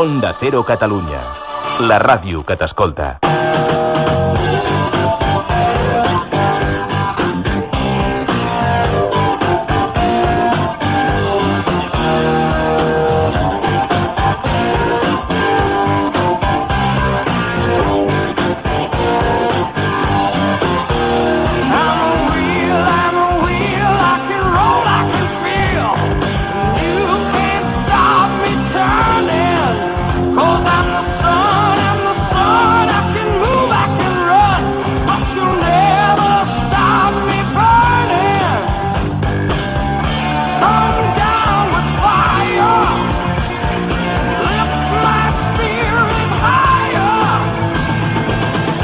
Onda Cero Catalunya, la ràdio que t'escolta.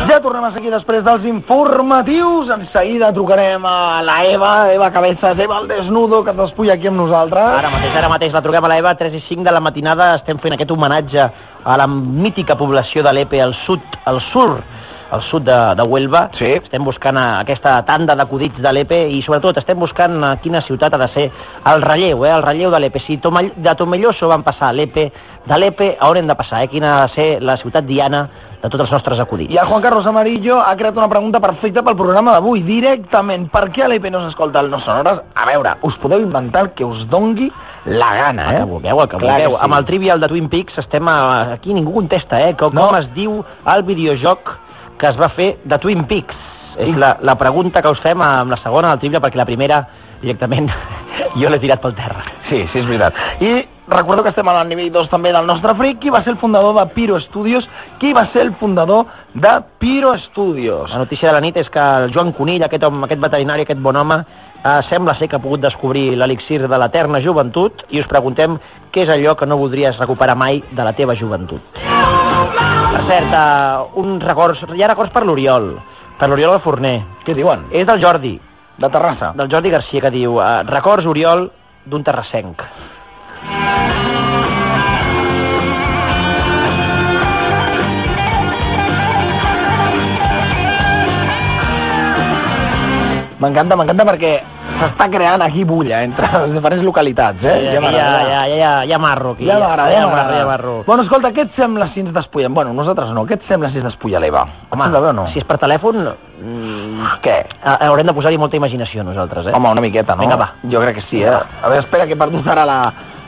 Ja tornem a seguir després dels informatius. En seguida trucarem a la Eva, Eva Cabezas, Eva al desnudo, que es despulla aquí amb nosaltres. Ara mateix, ara mateix la truquem a l'Eva, 3 i 5 de la matinada, estem fent aquest homenatge a la mítica població de l'Epe al sud, al sur, al sud de, de Huelva. Sí. Estem buscant eh, aquesta tanda d'acudits de l'Epe i sobretot estem buscant a quina ciutat ha de ser el relleu, eh, el relleu de l'Epe. Si Tomall, de Tomelloso van passar a l'Epe, de l'Epe a on hem de passar, eh, quina ha de ser la ciutat diana de tots els nostres acudits. I el Juan Carlos Amarillo ha creat una pregunta perfecta pel programa d'avui, directament. Per què a l'EP no s'escolta el No Sonores? A veure, us podeu inventar el que us dongui la gana, El eh? que vulgueu, el que Clar vulgueu. que sí. Amb el Trivial de Twin Peaks estem a... aquí, ningú contesta, eh? Com, No. com es diu el videojoc que es va fer de Twin Peaks? És la, la pregunta que us fem amb la segona del Trivial, perquè la primera directament jo l'he tirat pel terra. Sí, sí, és veritat. I recordo que estem al nivell 2 també del nostre fric, qui va ser el fundador de Piro Studios, qui va ser el fundador de Piro Studios. La notícia de la nit és que el Joan Conill, aquest, home, aquest veterinari, aquest bon home, eh, sembla ser que ha pogut descobrir l'elixir de l'eterna joventut i us preguntem què és allò que no voldries recuperar mai de la teva joventut. Per cert, eh, uns records, hi ha records per l'Oriol, per l'Oriol al Forner. Què diuen? És del Jordi, De Terrassa. del Jordi Garcia que diu eh, records, Oriol, d'un terrassenc. M'encanta, m'encanta perquè s'està creant aquí bulla entre les diferents localitats, eh? ja, ja, ja, ja, ja, ja marro aquí. Ja m'agrada, ja marro, m'agrada. ja marro. Bueno, escolta, què et sembla si ens despullem? Bueno, nosaltres no. Què et sembla si es despulla l'Eva? Et sembla bé o no? Ah, si és per telèfon, mm, Què? ha- haurem de posar-hi molta imaginació nosaltres, eh? Home, una miqueta, no? Vinga, va. Jo crec que sí, eh? A veure, espera, que perdut ara la,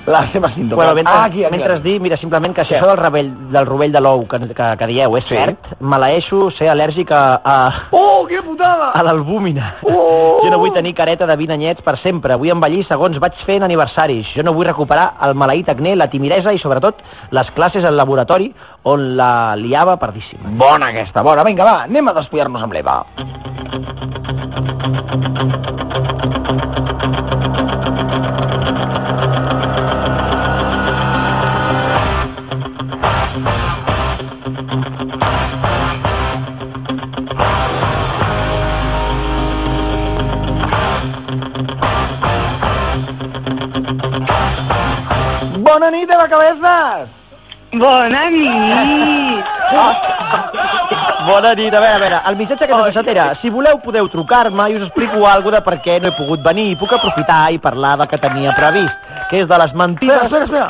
la seva síntoma. Bueno, mentre, ah, aquí, aquí, mentre es aquí. dir, mira, simplement que Què? això del, rebell, del rovell de l'ou que, que, que dieu és Sí. cert, maleeixo ser al·lèrgic a, a, Oh, que putada! a l'albúmina. Oh! Jo no vull tenir careta de 20 anyets per sempre. Vull envellir segons vaig fent aniversaris. Jo no vull recuperar el maleït acné, la timidesa i, sobretot, les classes al laboratori on la liava perdíssima. Bona aquesta, bona. Vinga, va, anem a despullar-nos amb l'Eva. Bona nit, Eva Cabezas! Bona nit! Ah. Bona nit, a veure, a veure, el missatge que s'ha passat era si voleu podeu trucar-me i us explico alguna de per què no he pogut venir i puc aprofitar i parlar del que tenia previst, que és de les Espera, mentides... espera, espera.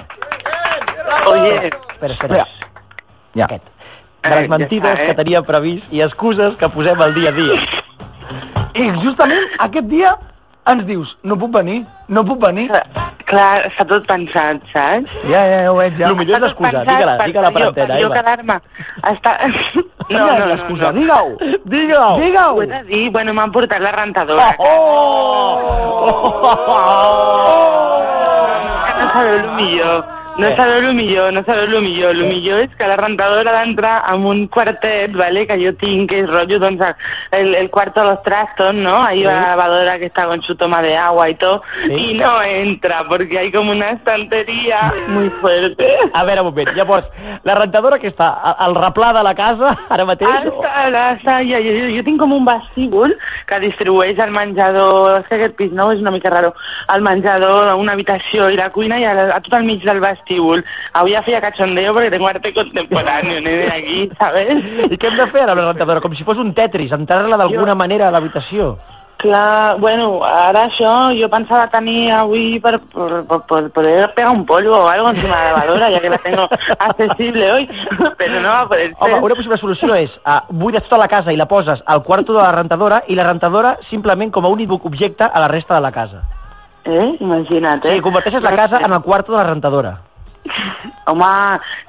Oye, Espera, espera. Ja. Aquest. De les Eh, mentides ja està, eh? que tenia previst i excuses que posem al dia a dia. I justament aquest dia ens dius, no puc venir, no puc venir. Eh. clar, està tot pensat, saps? Ja, ja, ja ho veig, ja. Lo millor és l'excusa. Digue-la, digue-la per antena, Jo, jo Eva. quedar-me. Està... Quina és l'excusa? Digue-ho. Digue-ho. Ho Digue-ho. he de dir, bueno, m'han portat la rentadora. Oh! Que no sabeu el millor. No Què? sabeu el millor, no sabeu el millor. El millor és que la rentadora d'entrar amb un quartet, vale, que jo tinc, que és rotllo, doncs, el, el cuarto de los trastos, ¿no? Ahí va la lavadora que está con su toma de agua y todo, Sí. y no entra, porque hay como una estantería muy fuerte. A veure, un moment. Llavors, la rentadora que està al- al replà de la casa, ara mateix... Hasta la salla. Jo, jo, jo tinc com un vestíbul que distribueix el menjador, és que aquest pis nou és una mica raro, el menjador, una habitació i la cuina i a, la- a tot el mig del vestíbul. Avui ja feia cachondeo perquè tengo arte contemporáneo, nene, aquí, ¿sabes? I què hem de fer ara amb la rentadora? Com si fos un tetris, entrar-la d'alguna Jo- manera a l'habitació. Clar, bueno, ara això jo pensava tenir avui per, per, per, per poder pegar un polvo o algo encima de la lavadora, ya que la tengo accesible hoy, pero no va a poder ser. Home, una possible solució és uh, buides tota la casa i la poses al quarto de la rentadora i la rentadora simplement com a únic objecte a la resta de la casa. Eh? Imagina't, O eh? sigui, converteixes la casa en el quarto de la rentadora. Home,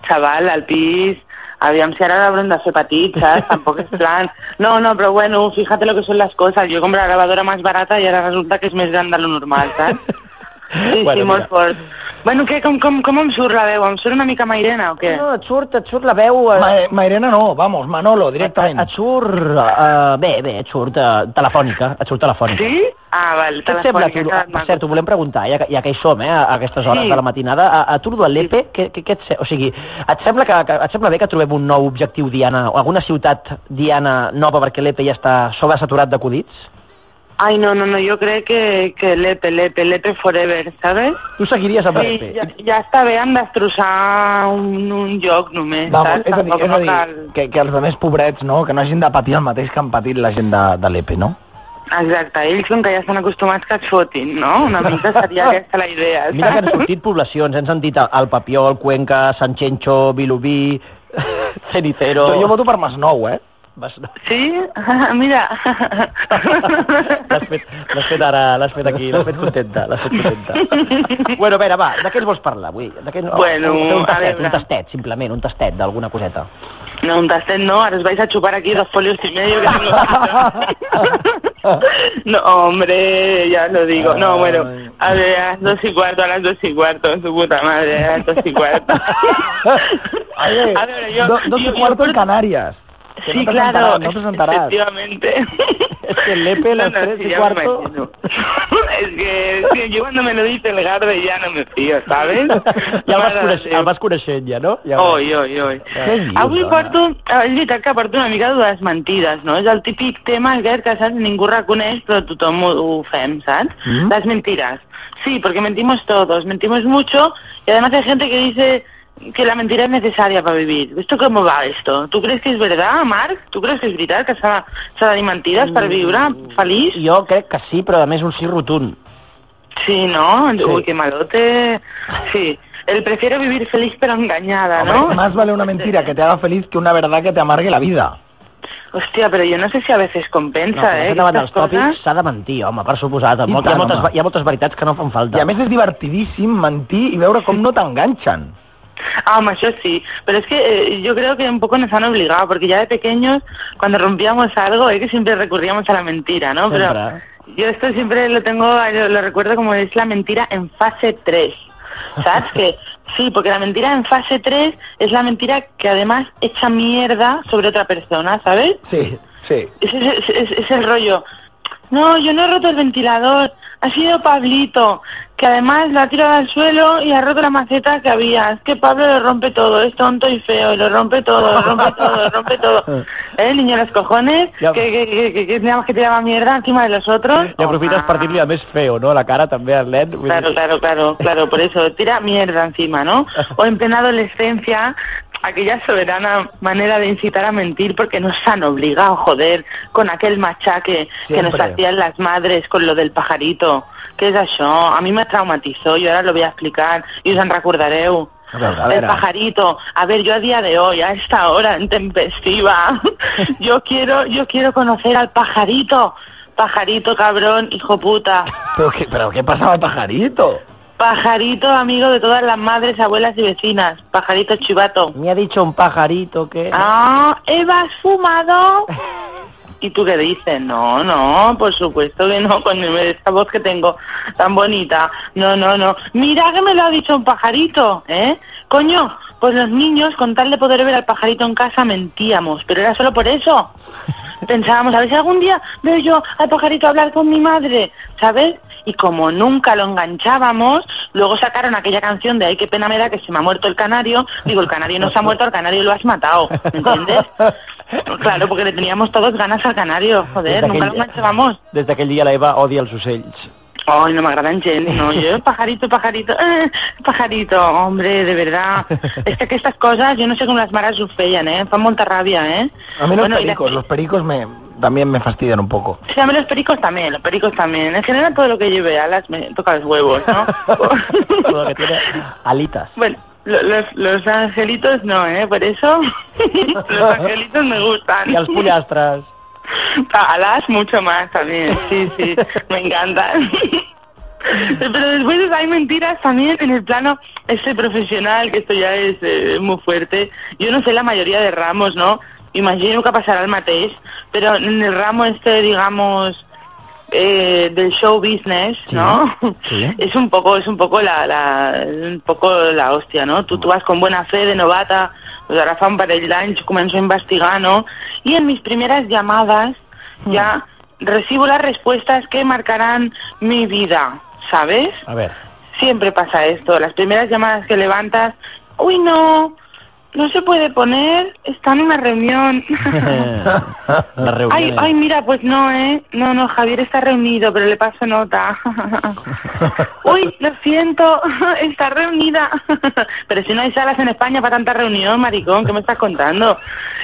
xaval, al pis... Aviam si ara l'haurem de fer petit, saps? Tampoc és plan... No, no, però bueno, fíjate lo que són les coses. Jo compro la lavadora més barata i ara resulta que és més gran de lo normal, saps? Sí, bueno, sí, molt mira. fort. Bueno, què, com, com, com em surt la veu? Em surt una mica Mairena o què? No, et surt, et surt la veu... eh, Ma Mairena no, vamos, Manolo, et, directament. et surt... eh, bé, bé, et surt eh, telefònica, et surt telefònica. Sí? Ah, val, Què et sembla, tu, telefònica. per cert, ho volem preguntar, ja que, ja que hi som, eh, a aquestes hores Sí. de la matinada, a, a Turdo al Lepe, què, què, què et sembla? O sigui, et sembla, que, que, et sembla bé que trobem un nou objectiu diana, o alguna ciutat diana nova perquè l'Epe ja està sobresaturat d'acudits? Ai, no, no, no, jo crec que, que l'Epe, l'Epe, l'Epe forever, ¿sabes? Tu seguiries amb Sí, l'Epe? ja, ja està bé en destrossar un, un lloc només, Vamos, saps? és a dir, és Tampoc a no dir cal... que, que els altres pobrets, no?, que no hagin de patir el mateix que han patit la gent de, de l'EPE, no? Exacte, ells com que ja estan acostumats que et fotin, no? Una mica seria aquesta la idea, saps? Mira que han sortit poblacions, ens han dit el Papiol, Cuenca, Sanchencho, Vilubí, Cenicero... Però jo voto per Masnou, eh? Vas- Sí? Mira. L'has fet, l'has fet ara, l'has fet aquí, l'has fet contenta, l'has fet contenta. bueno, a veure, va, de què ens vols parlar avui? De què... no- Bueno, un a tastet, veure. un tastet, simplement, un tastet d'alguna coseta. No, un tastet no, ahora os vais a chupar aquí dos folios y medio que tengo. no, hombre, ya lo digo. No, bueno, a ver, a las dos y cuarto, a las dos y cuarto, su puta madre, a las dos y cuarto. Oye, a ver, yo... do- dos yo- y yo- cuarto en Canarias. que Sí, no te claro, sentarás, no te sentarás. efectivamente. Es que el Lepe, las tres y ya me cuarto. imagino. es que, es que yo cuando me lo dice el Garde ya no me fío, ¿sabes? eh, Ja el vas, Mare coneixer, de el Déu. vas coneixent, ja, no? Ja ho Oi, oi, oi. Què dius, Avui dona? porto, eh, és veritat que porto una mica de les mentides, no? És el típic tema aquest que saps, ningú reconeix, però tothom ho, ho fem, saps? Mm. Las mentiras. Sí, porque mentimos todos, mentimos mucho, y además hay gente que dice que la mentira es necesaria para vivir. ¿Esto cómo va esto? ¿Tú crees que es verdad, Marc? ¿Tú crees que es verdad que s'ha s'ha de dir mentides per viure Mm, feliç? Jo crec que sí, però a més un sí rotund. Sí, ¿no? Uy, Sí. qué malote. Sí. El prefiero vivir feliz pero engañada, ¿no? Hombre, más vale una mentira que te haga feliz que una verdad que te amargue la vida. Hòstia, però jo no sé si a veces compensa, No, però eh? aquest davant dels aquestes tòpics s'ha de mentir, home, per suposat. I Molt, hi, tant, ha moltes, home. hi ha moltes veritats que no fan falta. I a més és divertidíssim mentir i veure com no t'enganxen. Ah, home, això sí. Pero es que eh, yo creo que un poco nos han obligado, porque ya de pequeños, cuando rompíamos algo, es que siempre recurríamos a la mentira, ¿no? Siempre. Pero yo esto siempre lo tengo, lo, lo recuerdo como es la mentira en fase 3. ¿Sabes? que sí, porque la mentira en fase 3 es la mentira que además echa mierda sobre otra persona, ¿sabes? Sí, sí. Ese es, es- es el rollo. No, yo no he roto el ventilador. Ha sido Pablito, que además la ha tirado al suelo y ha roto la maceta que había. Es que Pablo lo rompe todo, es tonto y feo, y lo rompe todo, lo rompe todo, lo rompe todo. ¿Eh, niño de los cojones? Ya. Que, que, que, que, que nada más que tiraba mierda encima de los otros. I aprofites per dir-li a més feo, no? La cara també al nen. vull Claro, Pues, dir- claro, claro, claro, por eso, tira mierda encima, ¿no? O en plena adolescencia, aquella soberana manera de incitar a mentir porque nos han obligado, joder, con aquel machaque que nos Siempre. hacían las madres con lo del pajarito. ¿Qué es eso? A mí me traumatizó y ahora lo voy a explicar y os en recordaré. A veure, a El veure. pajarito, a ver, yo a día de hoy, a esta hora en tempestiva, yo quiero, yo quiero conocer al pajarito, pajarito cabrón, hijo puta, Però què, però què passava, pajarito? Pajarito, amigo de todas las madres, abuelas y vecinas. Pajarito chivato. Me ha dicho un pajarito que... Ah, Eva, ¿has fumado? ¿Y tú qué dices? No, no, por supuesto que no, con esta voz que tengo tan bonita. No, no, no. Mira que me lo ha dicho un pajarito, ¿eh? Coño, pues los niños, con tal de poder ver al pajarito en casa, mentíamos, pero era solo por eso. Pensábamos, a ver si algún día veo yo al pajarito hablar con mi madre, ¿sabes? Y como nunca lo enganchábamos, luego sacaron aquella canción de Ay, qué pena me da que se me ha muerto el canario. Digo, el canario no se ha muerto, al canario lo has matado, ¿me ¿entiendes? Claro, porque le teníamos todos ganas al canario, joder, nunca lo enganchábamos. Des d'aquell dia la Eva odia els ocells. Ay, no me agradan Jen, no, yo, pajarito, pajarito, eh, pajarito, hombre, de verdad. Es que, que estas cosas, yo no sé cómo las maras lo feían, eh, fan mucha rabia, eh. A mí los Bueno, y la- pericos, los pericos me, también me fastidian un poco. Sí, a mí los pericos también, los pericos también. En general todo lo que lleve alas me toca los huevos, ¿no? Todo lo que tiene alitas. Bueno, lo- los, los angelitos no, ¿eh? Por eso los angelitos me gustan. I els pollastres. A- Alas mucho más también, sí, sí, me encantan. Pero después hay mentiras también en el plano este profesional, que esto ya es eh, muy fuerte. Yo no sé la mayoría de ramos, ¿no? Imagino que pasará al mateix, pero en el ramo este, digamos, eh, del show business, Sí, ¿no? sí. Es un poco, es un poco la, la, un poco la hòstia, no? Tu, tu vas con bona fe de novata, doncs ara fa un parell d'anys començo a investigar, no? Y en mis primeras llamadas ya recibo las respuestas que marcarán mi vida, ¿sabes? Ah. A veure, Siempre pasa esto, las primeras llamadas que levantas, uy no, no se puede poner, está en una reunión. les Ay, reuniones. ay, mira, pues no, ¿eh? No, no, Javier está reunido, pero le paso nota. Uy, lo siento, está reunida. Pero si no hay salas en España para tanta reunión, maricón, ¿qué me estás contando?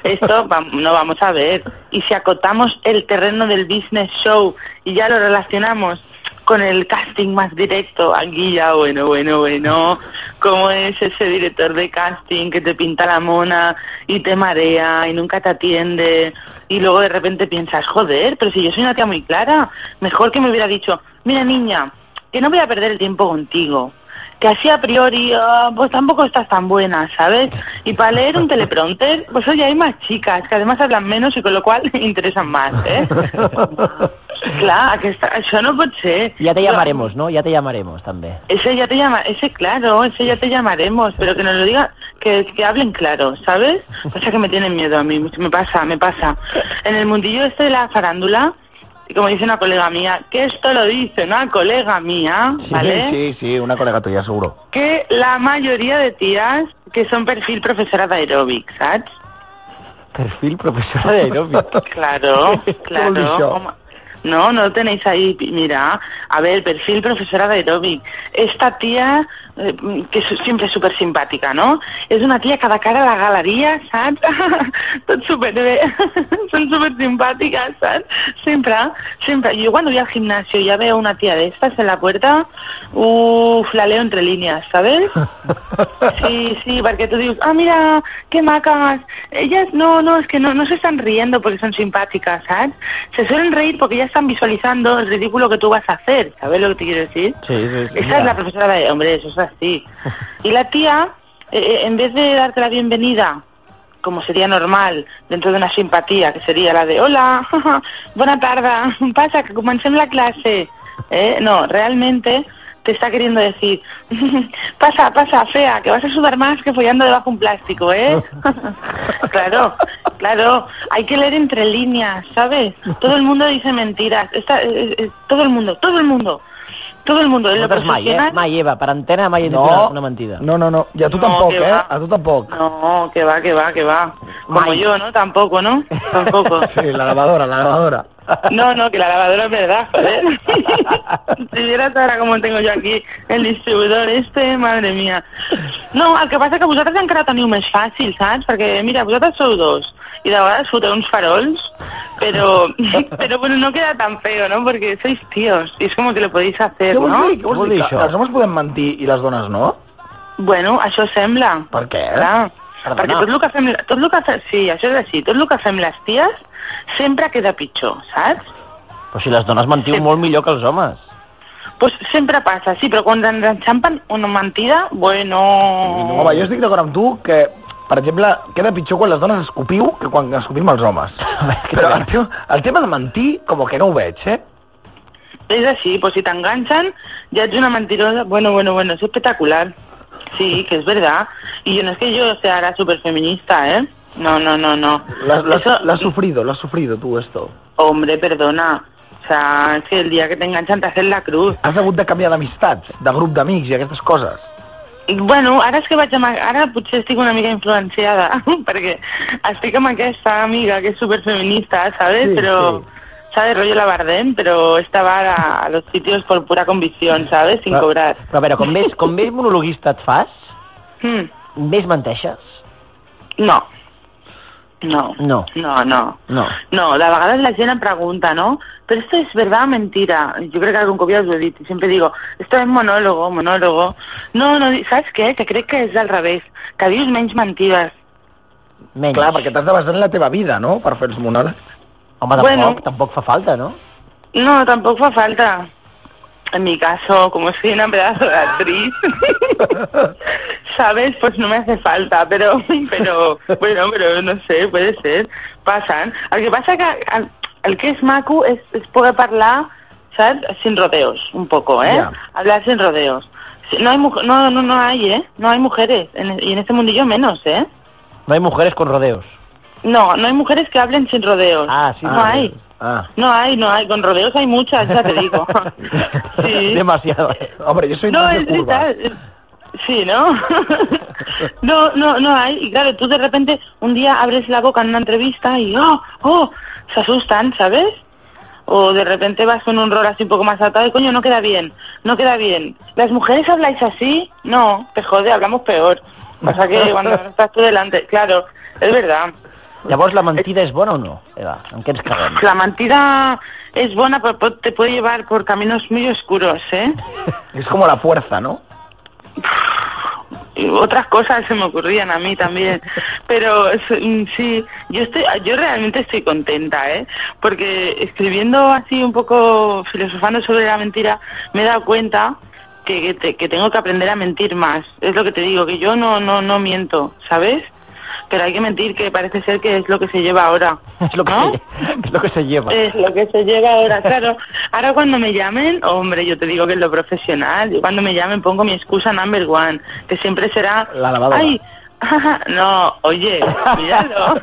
Esto va- no vamos a ver. Y si acotamos el terreno del business show y ya lo relacionamos con el casting más directo, aquí ya, bueno, bueno, bueno, cómo es ese director de casting que te pinta la mona y te marea y nunca te atiende y luego de repente piensas, joder, pero si yo soy una tía muy clara, mejor que me hubiera dicho, mira niña, que no voy a perder el tiempo contigo. Que así a priori, ah, pues tampoco estás tan buena, ¿sabes? Y para leer un teleprompter, pues oye, hay más chicas, que además hablan menos y con lo cual interesan más, ¿eh? Clar, aquesta, això no pot ser. Ja te llamaremos, no? Ja te llamaremos, també. Ese ya te llama, ese claro, ese ya te llamaremos, pero que nos lo diga, que, que hablen claro, ¿sabes? Pasa que me tienen miedo a mí, me pasa, me pasa. En el mundillo este de la farándula, y como dice una colega mía, que esto lo dice una colega mía, ¿vale? Sí, sí, sí, una colega tuya, seguro. Que la mayoría de tías que son perfil profesora de aeróbic, ¿sabes? Perfil profesora de aeróbic. Claro, Què vol dir claro. això? Home, No, no lo tenéis ahí, pi- mira, a ver, perfil profesora de aeróbic. Esta tía, eh, que su- siempre es súper simpática, ¿no? Es una tía cada cara a la galeria, saps? Tot superbé, són súper simpàtiques, saps? Sempre, sempre. ¿ah? Yo cuando voy al gimnasio y ya veo una tía de estas en la puerta, uff, la leo entre líneas, ¿sabes? Sí, sí, perquè tu dius, ah, mira, que macas. Ellas, no, no, es que no, no se están riendo porque son simpáticas, ¿sabes? Se suelen reír porque ya están visualizando el ridículo que tú vas a hacer, ¿sabes lo que te quiero decir? Sí, sí, sí. Esa es la profesora de... Hombre, eso es así. Y la tía, eh, eh, en vez de darte la bienvenida, como sería normal, dentro de una simpatía, que sería la de hola, buena tarda, pasa, que comencem la clase. Eh, no, realmente te está queriendo decir, pasa, pasa, fea, que vas a sudar más que follando debajo un plástico, ¿eh? claro, claro, hay que leer entre líneas, ¿sabes? Todo el mundo dice mentiras, Esta- eh, eh, todo el mundo, todo el mundo, todo el mundo, en lo Nosaltres mai, eh? profesional... Mai, Eva, per antena mai he dit No. una, una mentida. No, no, no. I a tu No, tampoc, que eh? va. A tu tampoc. No, que va, que va, que va. Como Ay. yo, ¿no? Tampoco, ¿no? Tampoco. Sí, la lavadora, la lavadora. No, no, que la lavadora es verdad, joder. si vieras ahora cómo tengo yo aquí el distribuidor este, madre mía. No, el que passa que vosaltres encara teniu més fàcil, saps? Perquè, mira, vosaltres sou dos i de vegades foteu uns farols, però, però bueno, no queda tan feo, ¿no? Porque sois tíos y es como que lo podéis hacer, Què vols ¿no? dir? Què vols dir? Que Els homes podem mentir i les dones no? Bueno, això sembla. Per què? Clar, Perdona. perquè tot el que fem... Tot el que fem sí, això és així. Tot el que fem les ties sempre queda pitjor, saps? Però si les dones mentiu Sí. molt millor que els homes. Pues sempre passa, sí, però quan ens enxampen una mentida, bueno... Home, jo estic d'acord amb tu que, per exemple, queda pitjor quan les dones escopiu que quan escopim els homes. Però el tema, el tema de mentir, com que no ho veig, eh? És així, pues si t'enganxen, ja ets una mentirosa. Bueno, bueno, bueno, és espectacular. Sí, que és verdad. I jo no és que jo sea ara superfeminista, eh? No, no, no, no. L'has- L'has Eso- l'has sufrido, l'has sufrido, tu, esto. Hombre, perdona. O sea, es que el día que te enganchan te hacen la cruz. Has hagut de canviar d'amistats, de grup d'amics i aquestes coses. Bueno, ara és que vaig amb... Ara potser estic una mica influenciada, perquè estic amb aquesta amiga que és superfeminista, ¿sabes? Sí, però... sí. ¿Sabes? Rollo la Bardem, pero esta va a, a los sitios por pura convicción, ¿sabes? Sin cobrar. Però a veure, com més, com més Mm. monologuista et fas, Hmm, més menteixes. No. No. No. No, no. No. No, de vegades la gent em pregunta, no? Però esto és verdad o mentira? Jo crec que algun cop ja us ho he dit. i Sempre digo, esto es monólogo, monólogo. No, no, di- saps què? Que crec que és al revés. Que dius menys mentides. Menys. Clar, perquè t'has de basar en la teva vida, no?, per fer els monòlegs. Home, tampoc, Bueno. tampoc fa falta, no? No, tampoco fa falta. En mi caso, como soy una pedazo de actriz, ¿sabes? Pues no me hace falta, pero, pero, bueno, pero no sé, puede ser. Pasan. El que pasa que el, el que és maco és, és poder parlar, saps? Sin rodeos, un poco, ¿eh? Ya. Hablar sin rodeos. Si- No hay, muj- no, no, no hay, ¿eh? No hay mujeres, en- y en este mundillo menos, ¿eh? No hay mujeres con rodeos. No, no hay mujeres que hablen sin rodeos. Ah, sí. No rodeos. hay. Ah. No hay, no hay. Con rodeos hay muchas, ya te digo. Sí. Demasiado. Hombre, yo soy No, más de es curva. verdad. eh, Sí, ¿no? No, no, no hay. Y claro, tú de repente un día abres la boca en una entrevista y ¡oh! ¡oh! Se asustan, ¿sabes? O de repente vas con un rol así un poco más atado y coño, no queda bien, no queda bien. ¿Las mujeres habláis así? No, te jode, hablamos peor. Pasa que cuando no estás tú delante, claro, es verdad. Llavors, la mentida és bona o no, Eva? En què ens caguem? La mentira es buena, pero po- te puede llevar por caminos muy oscuros, ¿eh? Es como la fuerza, ¿no? Y otras cosas se me ocurrían a mí también, pero es- mm, sí, yo estoy, yo realmente estoy contenta, ¿eh? Porque escribiendo así un poco filosofando sobre la mentira, me he dado cuenta que, que te- que tengo que aprender a mentir más. Es lo que te digo, que yo no no no miento, ¿sabes? Pero hay que mentir, que parece ser que es lo que se lleva ahora. Ah. És lo que, ¿no? se, és lo que se lleva. Eh, Es lo que se lleva ahora, claro. Ahora cuando me llamen, hombre, yo te digo que es lo profesional. Yo cuando me llamen pongo mi excusa number one, que siempre será... La lavadora. Ay, no, oye, cuidado.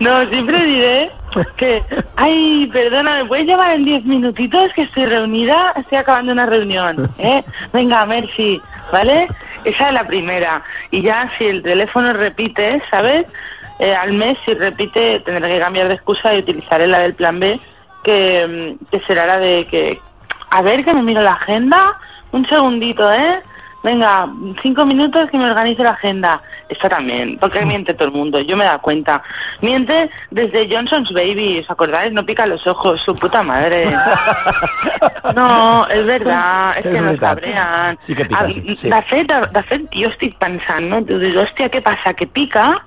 no, siempre diré que... Ay, perdona, ¿me puedes llamar en diez minutitos que estoy reunida? Estoy acabando una reunión, ¿eh? Venga, merci, ¿vale? Esa es la primera. Y ya si el teléfono repite, ¿sabes? Eh, al mes, si repite, tendré que cambiar de excusa y utilizaré la del plan B, que, mm, que será la de que, a ver, que me miro la agenda, un segundito, ¿eh? Venga, cinco minutos que me organizo la agenda. Esta también, porque miente todo el mundo, yo me da cuenta. Miente desde Johnson's Baby, ¿os acordáis? No pica los ojos, su puta madre. No, és verdad, és, És que nos veritat. cabrean. Sí que pica, Ah, sí, sí. De fet, de, de fet, jo estic pensant, no? Tu dius, hòstia, què passa, que pica?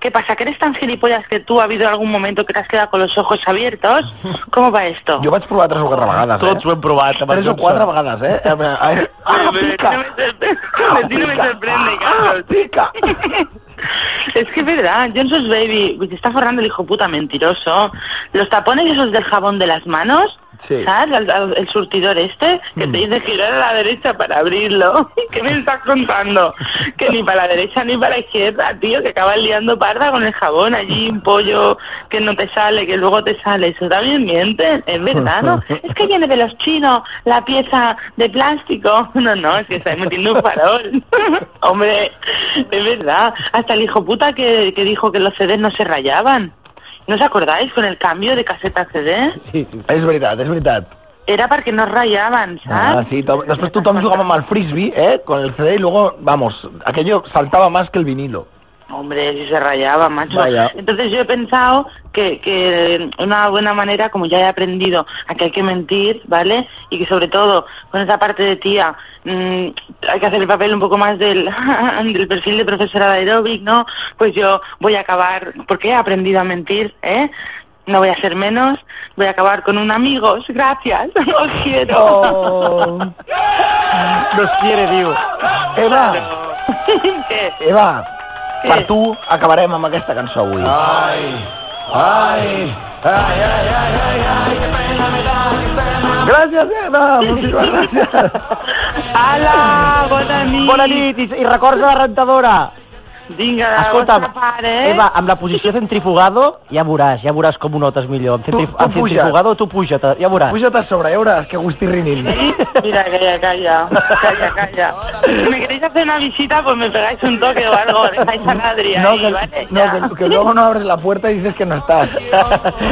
¿Qué pasa? ¿Que eres tan gilipollas que tú ha habido algún momento que te has quedado con los ojos abiertos? ¿Cómo va esto? Jo vaig provar tres o quatre vegades, Tots ho eh? hem provat. amb el Tres o Johnson. quatre vegades, eh? A veure, a veure. Pero, Ah, pero pica! no me sorprende, de ti no me sorprende, Ah, Carlos. pica! Es que es verdad, Johnson's Baby, pues, está forrando el hijo puta mentiroso. Los tapones esos del jabón de las manos, Sí. ¿sabes? Al- al- El, surtidor este, que te dice girar a la derecha para abrirlo. ¿Qué me estás contando? Que ni para la derecha ni para la izquierda, tío, que acabas liando parda con el jabón allí, un pollo que no te sale, que luego te sale. Eso también mienten, es verdad, ¿no? Es que viene de los chinos la pieza de plástico. No, no, es que estáis metiendo un farol. Hombre, es verdad. Hasta el hijo puta que, que dijo que los CDs no se rayaban. ¿No os acordáis con el cambio de caseta a CD? Sí, sí. És veritat, és veritat. Era perquè no es rayaban, ¿sabes? Ah, sí, to- després tothom jugava amb el frisbee, eh? Con el CD y luego, vamos, aquello saltaba más que el vinilo. Hombre, si se rayaba, macho. Vaya. Entonces yo he pensado que, que una buena manera, como ya he aprendido, a que hay que mentir, ¿vale? Y que sobre todo, con esa parte de tía, mm, hay que hacer el papel un poco más del, del perfil de profesora de aeróbic, ¿no? Pues yo voy a acabar, porque he aprendido a mentir, ¿eh? No voy a ser menos, voy a acabar con un amigos, gracias, os quiero. Nos quiere, diu. Oh, Eva, ¿Qué? Eva, Sí. per tu acabarem amb aquesta cançó avui. Ay, ay, ay, ay, ay, ay, ay, qué pena me da, qué pena. Gràcies, Eva, moltíssimes gràcies. ¡Hala! ¡Buena nit! Bona nit i, i recorda la rentadora. Vinga, de la Escolta'm, vostra part, eh? Eva, amb la posició centrifugado ja veuràs, ja veuràs com ho notes millor. Amb, Tu- centrif tu amb puja. centrifugado tu puja, te- ja veuràs. Puja't a sobre, ja veuràs que Agustí Rinil. Sí, Mira, calla, calla, calla, calla. Si me queréis hacer una visita, pues me pegáis un toque o algo, dejáis a Adri ahí, No, que, ¿vale? Ya. no que, que luego no abres la puerta y dices que no estás.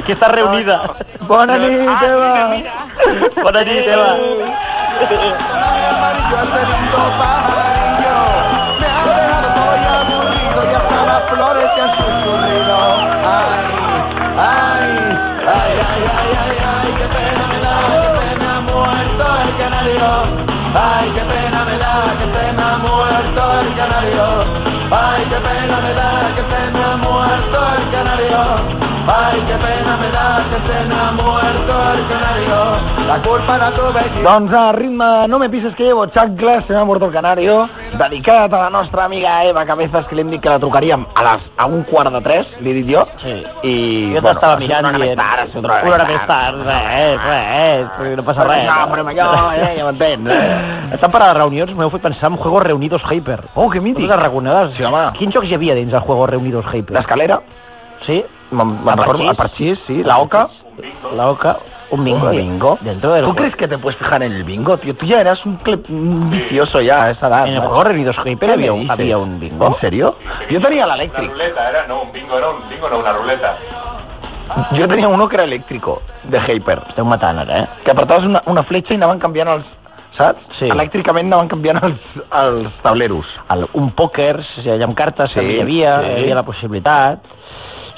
que estàs reunida. Bona nit, Ah, Eva. mira, mira. Bona nit, Eva. Me has dejado todo y aburrido y hasta las flores te han susurrido. Ay, qué pena me da que se me ha muerto el canario. Ay, qué pena me da que se me ha muerto el canario. La culpa la tuve yo. Doncs a ritme No me pises que llevo xancles, se m'ha mort el canario, dedicat a la nostra amiga Eva Cabezas, que li hem dit que la trucaríem a, les, a un quart de tres, li he dit jo. Sí. I, Jo t'estava mirant una hora dient, més tard, eh. una hora, una hora més tard, eh. res, res, no passa res. No, però allò, eh, ja m'entens. Eh? Estan parlant de reunions, m'heu fet pensar en Juegos Reunidos Hyper. Oh, que mític. Totes arraconades. Sí, home. Quins jocs hi havia dins el Juegos Reunidos Hyper? L'escalera, Sí? me'n me'n recordo, el parxís, sí, la oca. La Oca, un bingo. Hola, bingo. Dentro del ¿Tú juego. crees que te puedes fijar en el bingo, tío? Tú ya eras un, cle- un vicioso ya a esa edad. En el ¿no? Juegos Reunidos Hyper ¿Qué había me un, dices? había un bingo. ¿En serio? Yo tenía la eléctrica. ruleta era, no, un bingo, no, un bingo, no, una ruleta. Yo tenía uno que era eléctrico, de Hyper, Esteu matant ara, eh? que apartaves una, una fletxa i anaven canviant els, saps? Sí. Elèctricament anaven canviant els, els tableros. El, un pòquer, si hi havia amb cartes, Sí, també hi havia, sí. hi havia la possibilitat.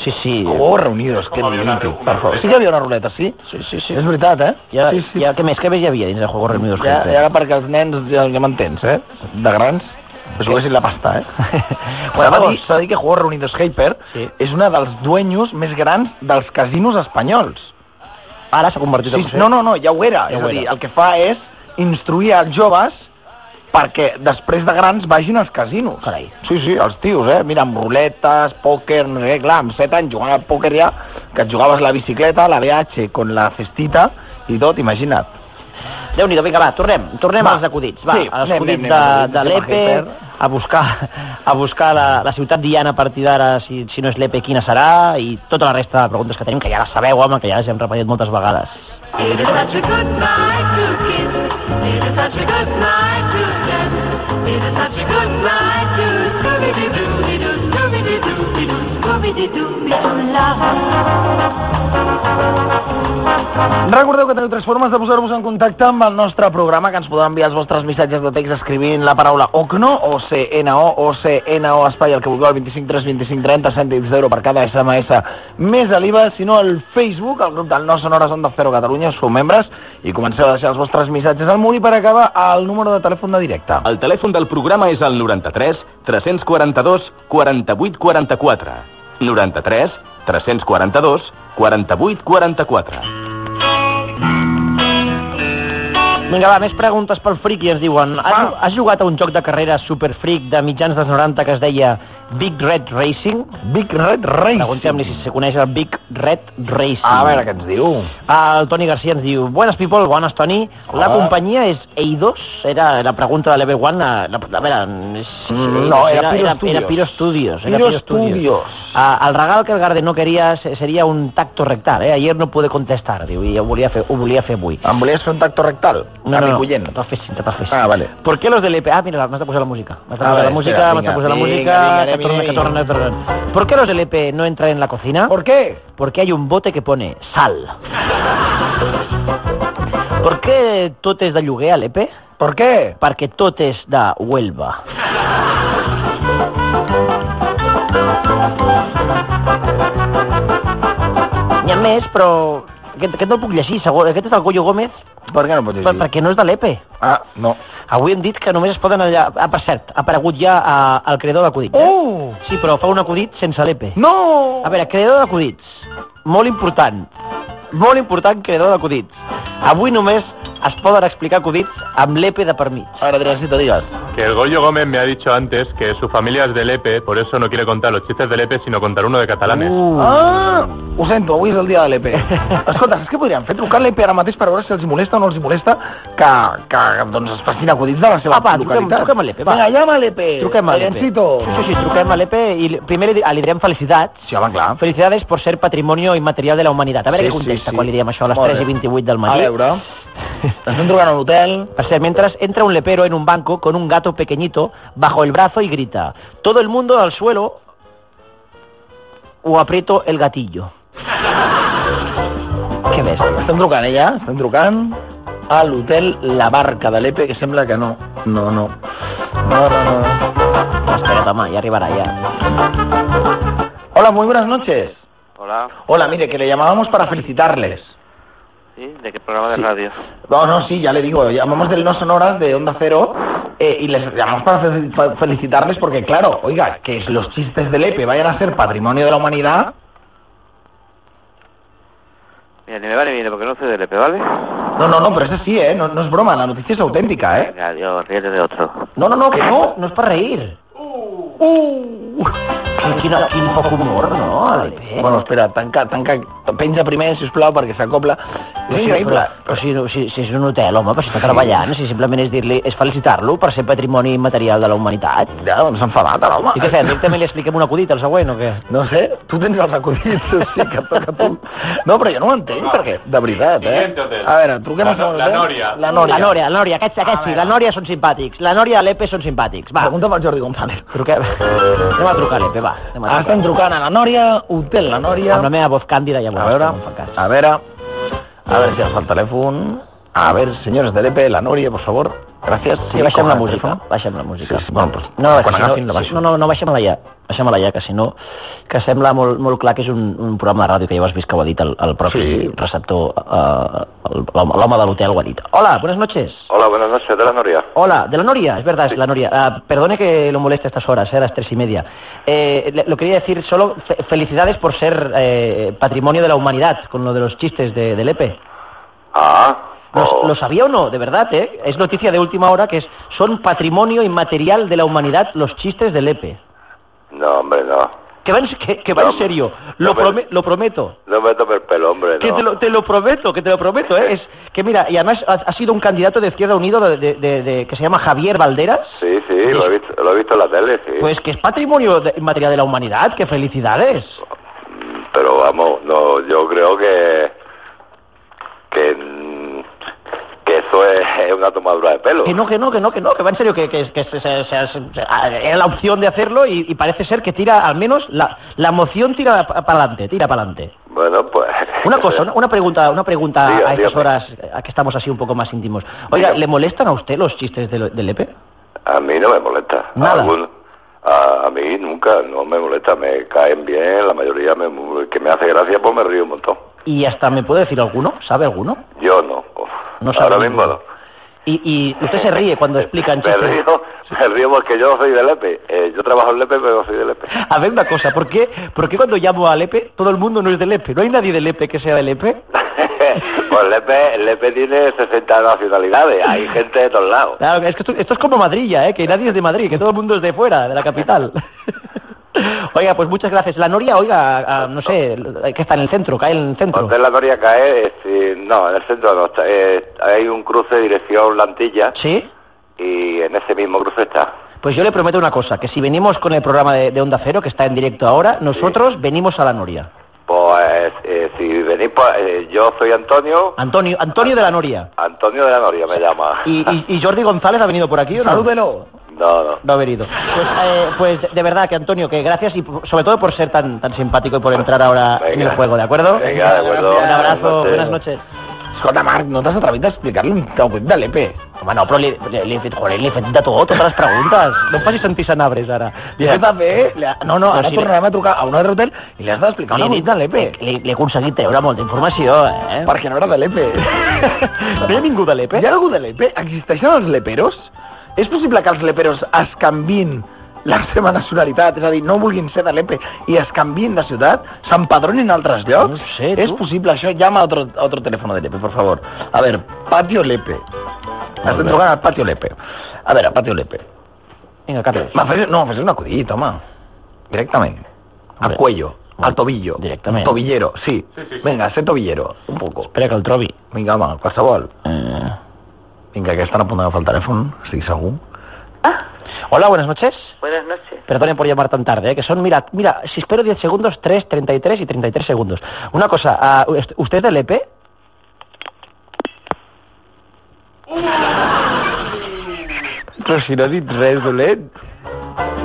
Sí, sí. Oh, reunidos, que Com havia una- mític, una per favor. ruleta. Sí que hi havia una ruleta, sí? Sí, sí, sí. És veritat, eh? Ja, sí, sí. ja, què més? Què més hi havia dins de Juegos Reunidos ja, Hyper? ja era perquè els nens, ja, ja m'entens, eh? De grans, es juguessin la pasta, eh? bueno, Llavors- va dir, s'ha de dir que Juegos Reunidos Hyper Sí. és una dels dueños més grans dels casinos espanyols. Ara s'ha convertit Sí, en... no, no, no, ja ho era. Ja Ja és ho a dir, era. el que fa és instruir els joves perquè després de grans vagin als casinos. Carai. Sí, sí, els tios, eh? Mira, amb ruletes, pòquer, no sé, què, clar, amb 7 anys jugant al pòquer ja, que et jugaves la bicicleta, la BH, con la cestita i tot, imagina't. Déu-n'hi-do, vinga, va, tornem. Tornem Va. als acudits. Va, Sí, als anem, acudits anem, de, anem, de anem a l'Epe, Hyper. a buscar, a buscar la, la ciutat diana a partir d'ara, si, si no és l'Epe, quina serà, i tota la resta de preguntes que tenim, que ja les sabeu, home, que ja les hem repetit moltes vegades. It is such a good night to kiss. It is such a good night to kiss. It is such a good night to Scooby-Doo, doo Scooby-Doo, doo Scooby-Doo, doo love. Recordeu que teniu tres formes de posar-vos en contacte amb el nostre programa, que ens podeu enviar els vostres missatges de text escrivint la paraula OCNO, o CNO, o CNO, espai, el que vulgueu, al 25 3 25 30 cèntims d'euro per cada SMS més a l'IVA, si no al Facebook, al grup del No Sonores Onda Cero Catalunya, sou membres, i comenceu a deixar els vostres missatges al mur i per acabar al número de telèfon de directe. El telèfon del programa és el 93 342 48 44. 93 342 48 44. Vinga, va, més preguntes pel fric i ens diuen has, ju- has jugat a un joc de carrera super fric de mitjans dels 90 que es deia Big Red Racing? Big Red Preguntem-li si se coneix el Big Red Racing. A veure què ens diu. El Toni Garcia ens diu Buenas people, buenas Toni La Hola. companyia és Eidos Era la pregunta de l'Eve One la, la, A veure és- Mm, no, era Piro era, Studios. era Piro Studios, era Piro Piro Studios. Studios. Ah, El regal que el Garde no queria se- Seria un tacto rectal eh? Ayer no pude contestar diu, I ho volia fer, ho volia fer avui Em volies fer un tacto rectal? no, no, no, Amicullent. no t'has fet, sí, no t'has fet. Ah, vale. ¿Por qué los del EPA? Ah, mira, m'has de posar la música. M'has de Ah, posar la vale, música, espera, m'has de vinga, posar la vinga, música, vinga, que anem, torna, que vinga. torna, que torna. ¿Por qué los del EP no entran en la cocina? ¿Por qué? Porque hay un bote que pone sal. ¿Por qué tot és de lloguer a l'EP? ¿Por qué? Perquè tot és de Huelva. N'hi ha més, però aquest, aquest no el puc llegir, segur. Aquest és del Goyo Gómez, ¿Por qué no pots per, perquè no és de l'EPE. Ah, no. Avui hem dit que només es poden allà... Ah, per cert, ha aparegut ja eh, el creador d'acudits, eh? Oh! Sí, però fa un acudit sense l'EPE. No! A veure, creador d'acudits. Molt important. Molt important creador d'acudits. Avui només es poden explicar acudits amb l'EPE de per mig. Ahora dirás si te digas. Que el Goyo Gómez me ha dicho antes que su familia es de Lepe, por eso no quiere contar los chistes de Lepe, sino contar uno de catalanes. Uh. Uh. Ah! Ho sento, avui és el dia de l'EP. Escolta, saps què podríem fer? Trucar a l'EP ara mateix per veure si els hi molesta o no els hi molesta que, que doncs, es facin acudits de la seva Va, va, truquem- localitat. truquem a l'EP, va. Vinga, llama a l'EP. Truquem a l'EPE. Lorencito. Sí, sí, sí, truquem a l'EPE i li- primer li, di- ah, li direm felicitats. Sí, home, clar. Felicidades por ser patrimonio immaterial de la humanitat. A veure Sí, què contesta sí, sí. quan li diem això a les Molt 3 i bé. 28 del A matí. veure, estem trucant a l'hotel. Per ser, mientras entra un lepero en un banco con un gato pequeñito bajo el brazo y grita, todo el mundo al suelo o aprieto el gatillo. Què més? Estem trucant, eh, ja? Estem trucant a l'hotel La Barca de l'EP, que sembla que no. No, no. No, no, no. Espera't, home, ja arribarà, ja. Hola, muy buenas noches. Hola. Hola, mire, que le llamábamos para felicitarles. Sí, de qué programa de radio. No, no, sí, ya le digo, llamamos del No Sonoras de Onda Cero eh, y les llamamos para fe- fa- felicitarles porque, claro, oiga, que los chistes de Lepe E vayan a ser patrimonio de la humanidad. Mira, ni me vale bien porque no soy del EP, ¿vale? No, no, no, pero eso sí, ¿eh? No, no es broma, la noticia es auténtica, ¿eh? Venga, adiós, ríete de otro. No, no, no, que no, no es para reír. Uh. Quin, quin, quin poc humor, no, l'Albert? Bueno, espera, tanca, tanca, penja primer, sisplau, perquè s'acopla. És increïble. Però, si, però si, no- si, si és un hotel, home, però si està treballant, si simplement és dir-li, és felicitar-lo per ser patrimoni immaterial de la humanitat. Ja, doncs enfadat, ara, home. I què fem? Ell també li expliquem un acudit, el següent, o què? No sé, tu tens els acudits, sí, que toca tu. No, però jo no ho entenc, perquè, de veritat, Siguiente eh? hotel. A veure, truquem Ah, La a segon no- la hotel. Nòria. La Nòria. La Nòria, Ah, la Nòria, aquests, aquests sí, la Nòria són simpàtics. La Nòria i l'Epe són simpàtics, va. Pregunta pel Jordi González. Truquem. Anem a trucar a l'Epe, va. Anem a Ah, estem trucant a la Nòria, hotel la Nòria. Amb la meva voz càndida, ja A veuràs. veure, que no em fa cas. a veure, a ver si alza el teléfono. A ver, señores del EP, la Noria, por favor. Gracias. Sí, baixem la cojan el música, teléfono. eh? baixem la música. Sí, sí, bueno, pues, no, quan si agafin la no, baixo. no, no, no, baixem-la ja, baixem-la ja, que si no, que sembla molt, molt clar que és un, un programa de ràdio que ja ho has vist que ho ha dit el, el propi Sí. receptor, eh, el- l'home l'home de l'hotel ho ha dit. Hola, buenas noches. Hola, buenas noches, de la Noria. Hola, de la Noria, es verdad, es la Noria. Ah, perdone que lo moleste a estas horas, eh, a las tres y media. Eh, le- lo quería decir solo fe- felicidades por ser eh, patrimonio de la humanidad, con lo de los chistes de, del EPE. Ah, ¿Lo, oh, lo sabía o no? De verdad, ¿eh? Es noticia de última hora que es, son patrimonio inmaterial de la humanidad los chistes del EPE. no, hombre, no. Que va en, que, que va en No, serio, no, lo, pero- prome- lo prometo. No me tomes el pelo, hombre, Que no. te lo, te lo prometo, que te lo prometo, ¿eh? Es que mira, y además ha, ha sido un candidato de Izquierda Unido de- de- de- de- que se llama Javier Valderas. Sí, sí, lo he, visto, lo he visto en la tele, sí. Pues que es patrimonio de- inmaterial de la humanidad, que felicidades. Mm, Pero vamos, no, yo creo que... Que... mm, Que eso es una tomadura de pelo. Que no, que no, que no, que no, que va en serio, que, que, que se- se- se- se- a- era la opción de hacerlo y, y parece ser que tira, al menos la, la moción tira para adelante, tira para adelante. Bueno, pues... Una cosa, una- una pregunta, una pregunta Diga, a estas dígame. horas, eh, a que estamos así un poco más íntimos. Oiga, Diga. ¿le molestan a usted los chistes del, E del EPE? A mí no me molesta. Nada. Algún- a, a mí nunca, no me molesta. Me caen bien, la mayoría me, que me hace gracia, pues me río un montón. Y hasta me puede decir alguno, ¿sabe alguno? Yo no. No sabe Ahora ninguno. mismo no. Y, y usted se ríe cuando explican Me chistes. río, me río porque yo no soy de Lepe. Eh, yo trabajo en Lepe, pero no soy de Lepe. A ver una cosa, ¿por qué, ¿por qué cuando llamo al EPE todo el mundo no es del EPE? ¿No hay nadie del EPE que sea del EPE? pues Lepe, Lepe tiene 60 nacionalidades. Hay gente de todos lados. Claro, es que esto, esto es como Madrid ya, ¿eh? que nadie es de Madrid, que todo el mundo es de fuera, de la capital. oiga, pues muchas gracias. La Noria, oiga, a- a- no sé, que está en el centro, cae en el centro. Hotel La Noria cae, eh, sí, no, en el centro no está. Eh, hay un cruce dirección Lantilla ¿Sí? y en ese mismo cruce está. Pues yo le prometo una cosa, que si venimos con el programa de, de Onda Cero, que está en directo ahora, nosotros venimos a la Noria. Pues eh, si venís, pues, eh, yo soy Antonio, Antonio, Antonio de la Noria. Antonio de la Noria me llama. Y, y- y Jordi González ha venido por aquí, ¿o no? Salúdelo. No, no. No ha venido. Pues, eh, pues de verdad que Antonio, que gracias y por- sobre todo por ser tan, tan simpático y por entrar ahora en el Venga. juego, ¿de acuerdo? Venga, de acuerdo. Un abrazo, buenas Buenas noches. noches. Escolta, Marc, no t'has atrevit a explicar-li un E tauquet de l'EP. Home, no, però li, li, li, he fet, joder, li he fet de tot, totes les preguntes. No em facis sentir sanabres, ara. Li has de fer... li ha- No, no, Però ara si- tornarem a trucar a un altre hotel i li has d'explicar una E Li, acudit de l'EP. li, li, li he aconseguit treure molta informació, eh? Perquè no era de l'EP. No hi ha ningú de l'EPE? Hi ha algú de l'EP? Existeixen els leperos? És possible que els leperos es canvin la seva nacionalitat, és a dir, no vulguin ser de l'EPE i es canvin de ciutat, s'empadronin a altres llocs? No ho sé, tu. és possible això? Llama a otro, a otro teléfono de l'EPE, por favor. A ver, Patio Lepe. Estem bé. trucant al Patio Lepe. A veure, Patio Lepe. Vinga, Carles. Va, fes, no, fes un acudit, home. Directament. A Hombre. cuello, al tobillo. Directament. Tobillero, sí. Venga, sé tobillero, un poco. Espera que el trobi. Vinga, home, qualsevol. Eh... Vinga, que estan a punt d'agafar el telèfon, estic segur. Ah. Hola, buenas noches. Buenas noches. Perdonen por llamar tan tarde, eh, que son, mira, mira, si espero 10 segundos, 3, 33 y 33 segundos. Una cosa, ah, ¿ust- ¿usted es del EP? Però si no ha dit res dolent.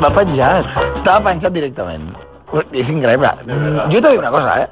M'ha penjat. Estava penjat directament. És increïble. Jo t'he dit una cosa, eh?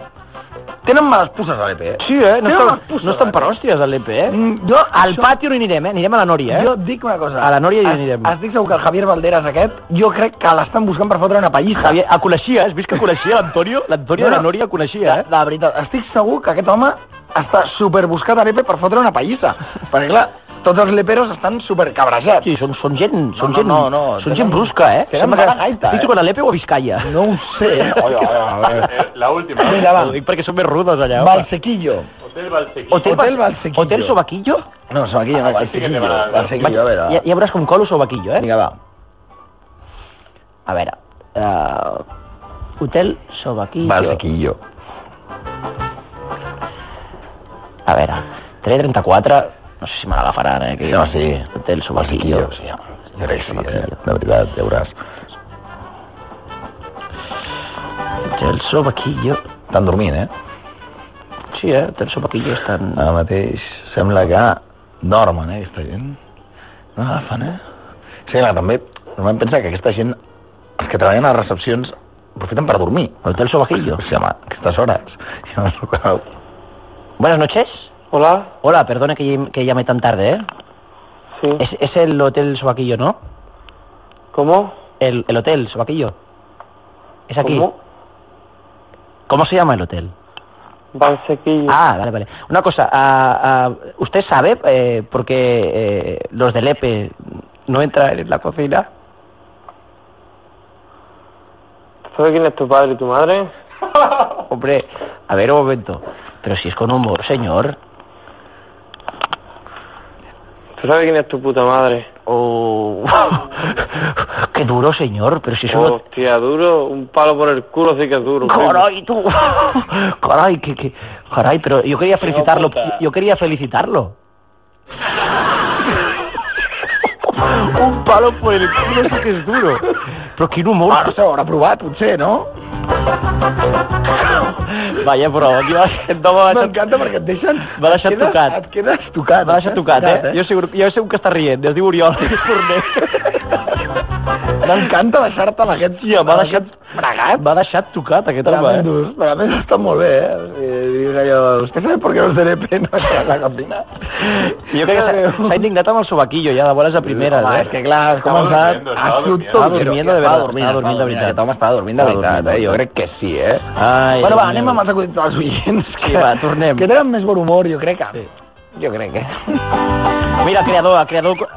Tenen males puces a l'EP, eh? Sí, eh? No, Tenen estan, males puces, no estan per hòsties, a l'EP, eh? Mm, Jo, Al patio no hi anirem, eh? Anirem a la Nòria, eh? Jo et dic una cosa. A la Nòria hi Es- anirem. Estic segur que el Javier Valderas aquest, jo crec que l'estan buscant per fotre una pallissa. Javier, eh? a coneixia, has vist que coneixia l'Antonio? L'Antonio No, de la no. Nòria coneixia, De, eh? de veritat, estic segur que aquest home està superbuscat a l'EPE per fotre una pallissa. Perquè, clar, tots els leperos estan supercabrejats. Sí, són, són gent, són no, gent, no, no, són tenen- gent brusca, eh? tenen Sembla mala gaita, Estic eh? jugant a l'Epe o a Vizcaya. No ho sé. Oi, oi, oi, oi. Eh, la última. Vinga, Ho va. dic perquè són més rudos allà. home. Balsequillo. Hotel Balsequí. Hotel, Hotel Ba- Valsequillo. Hotel Ah, Sobaquillo? No, som aquí, no, sí que te Balsequillo. van a- Balsequillo, a veure. Ja, ja veuràs com colo Sobaquillo, eh? Vinga, va. A veure... Uh, hotel Sobaquillo. Balsequillo. A veure, 334... No sé si me l'agafaran, eh? Que... No, sí. Hotel Sobaquillo. sí. Jo crec que sí, eh? De veritat, ja veuràs. Hotel Sobaquillo. Estan dormint, eh? Sí, eh? Hotel Sobaquillo està en... Ara mateix sembla que dormen, eh, aquesta gent. No agafen, eh? Sí, clar, també, normalment pensa que aquesta gent, els que treballen a les recepcions, aprofiten per dormir. Hotel Sobaquillo. Sí, home, aquestes hores. Ja no s'ho creu. Buenas noches. Hola, Hola, perdona que, llam- que llame tan tarde, ¿eh? sí. Es, es el Hotel Sobaquillo, ¿no? ¿Cómo? El, el Hotel Sobaquillo. Es aquí. ¿Cómo? ¿Cómo se llama el hotel? Valsequillo. Ah, vale, vale. Una cosa, ah, ah, ¿usted sabe eh, por qué eh, los del EPE no entran en la cocina? ¿Sabes quién es tu padre y tu madre? Hombre, a ver un momento. Pero si es con humor, señor. ¿Tú sabes quién es tu puta madre? Oh, qué duro, señor. Pero si es un... Hostia, duro, un palo por el culo sí que es duro. Caray, tú. Caray, que, que- Caray, pero yo quería felicitarlo. Yo quería felicitarlo. un palo por el culo sí que es duro. Pero quin humor. Ah, no sé, ho haurà provat, potser, no? Vaya, però jo aquest home m'ha deixat, M'encanta perquè Oh, et deixen... M'ha deixat et quedes, tocat. Et quedes tocat. m'ha deixat tocat, eh? Jo, segur, jo sé un que està rient, es diu Oriol, és forner. M'encanta deixar-te amb aquests... Tio, m'ha amb deixat aquests fregat. M'ha deixat tocat aquest home, eh? Tremendos, però a més està molt bé, eh? O sigui, dius allò, ¿usted sabe por qué los del EP no están en la cocina? Jo crec que s'ha- s'ha indignat amb el sobaquillo, ja, de boles a primeres, Home, eh? és que clar, has començat... durmiendo, has estava sigut durmiendo. Estava durmiendo tot giro. de Estava veritat, estava dormint dormint, de veritat. Aquest home estava dormint de Estava veritat, eh? dormint, Jo crec que sí, eh? Ai, bueno, va, Déu anem meu. amb els acudits dels oients. Sí, va, tornem. Que tenen més bon humor, jo crec que... Jo crec que... Mira, el creador, el creador...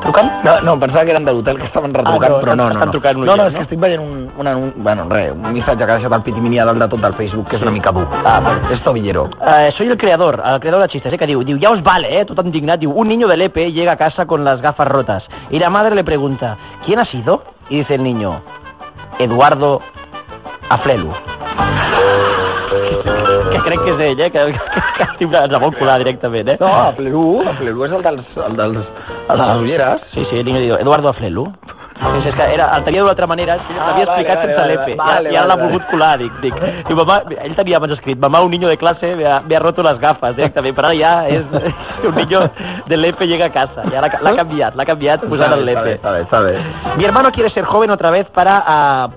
Trucant? No, no, em pensava que eren de l'hotel que estaven retrucant, Ah, no, però no, no. estan no. trucant un No, no, oient, és no? que estic veient un, un, un, bueno, res, un missatge que ha deixat el Piti Mini a dalt de tot del Facebook, que és una mica dur. Ah, vale. És tobillero. Eh, soy el creador, el creador de chistes, ¿eh? Que digo, digo, ya os vale, ¿eh? Todo indignado. Digo, un niño del EPE llega a casa con las gafas rotas. Y la madre le pregunta, ¿quién ha sido? Y dice el niño, Eduardo Aflelu. que crec que és ell, eh? Que, que, que, que estic- ens la vol colar directament, eh? No, a Plerú, a Plerú és el dels, el dels, el de les ulleres. Sí, sí, el niño diu, Eduardo Aflelu. Dius, és que era, el tenia d'una altra manera, si Ah, l'havia explicat vale, sense vale, l'EPE. vale, I- I ara vale, l'ha vale. volgut colar, dic, dic. Diu, mamà, ell tenia abans escrit, mamá, un niño de clase me ha, me ha roto las gafas directament, però ara ja és, és un niño de l'EPE llega a casa. Ja l'ha l'ha canviat, l'ha canviat posant el l'EPE. Està bé, està bé, està Mi hermano quiere ser joven otra vez para ah,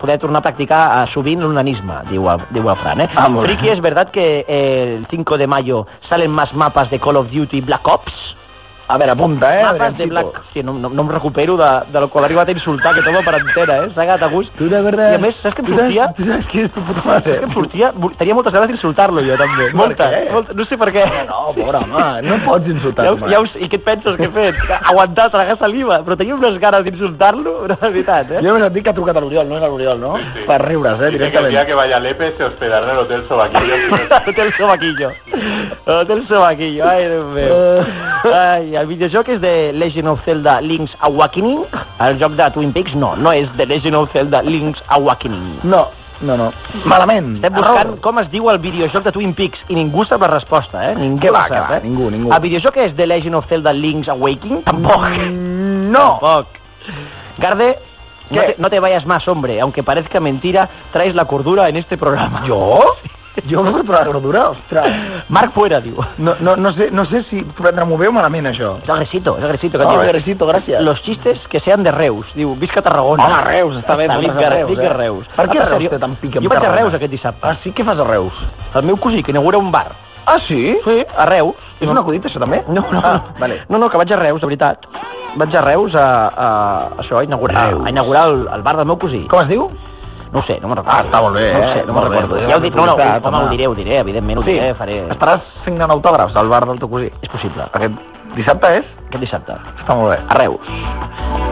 poder tornar a practicar ah, sovint l'unanisme, diu, el- diu el Fran, eh? Ah, molt bé. Friki, ¿es verdad que eh, el 5 de mayo salen más mapas de Call of Duty y Black Ops? bé. A veure, apunta, eh? Mapas de Black... Ah, Sí, no, no, no em recupero de, de lo que l'ha arribat a insultar, que toma per entera, eh? S'ha quedat a gust. Tu de veritat... I a més, saps que em tu saps- sortia? Tu saps qui és tu puta mare? És que em sortia... Tenia moltes ganes d'insultar-lo, jo, també. Moltes, què? moltes. No sé per què. No, pobre home, no pots insultar Ja, tu, ho- ja, ho- I què et penses que he fet? Aguantar, tragar saliva. Però tenia unes ganes d'insultar-lo, de veritat, eh? Jo només et dic que ha trucat a l'Oriol, no és a l'Oriol, no? sí. Per riure's, eh, Dice que el directament. día que vaya Lepe se hospedará en el Hotel Sobaquillo. Hotel Sobaquillo. Hotel Sobaquillo, ai, Déu meu. Ai, el videojoc és de Legend of Zelda Link's Awakening. El joc de Twin Peaks, no, no és de Legend of Zelda Link's Awakening. No, no, no. Malament. Estem buscant Error. com es diu el videojoc de Twin Peaks i ningú sap la resposta, eh? Ningú Què va, ho què sap, va? eh? Ningú, ningú. El videojoc és The Legend of Zelda Link's Awakening? Tampoc. No. Tampoc. Garde, no ¿Qué? te, no te vayas más, hombre. Aunque parezca mentira, traes la cordura en este programa. Jo? Jo no vull provar gordura? Ostres. Marc Fuera, diu. No, no, no, sé, no sé si prendre-m'ho bé o malament, això. És agresito, és agresito. Que Ah, diu, Gresito, gràcies. Los chistes que sean de Reus. Diu, visca Tarragona. Home, Reus, està bé, Dic fotres que a Reus, Reus. Dic que eh? Reus. Per què Ah, Reus jo- té tan pica amb Jo vaig a Tarragona? Reus aquest dissabte. Ah, sí? Què fas a Reus? El meu cosí, que inaugura un bar. Ah, sí? Sí, a Reus. És un acudit, això, també? No, no, Ah, vale. no, no, que vaig a Reus, de veritat. Vaig a Reus a, a, a això, a inaugurar, Reus. a inaugurar el, el bar del meu cosí. Com es diu? No No ho sé, no me'n recordo. Ah, està molt bé, no ho eh? sé, no me'n Molt bé, recordo. podríem Ja ho dic, no, no, publicitat, home, home. ho diré, ho diré, evidentment ho Sí, diré, faré... estaràs signant autògrafs al bar del teu cosí. És possible, Aquest dissabte és? aquest dissabte. Està molt bé. A Reus.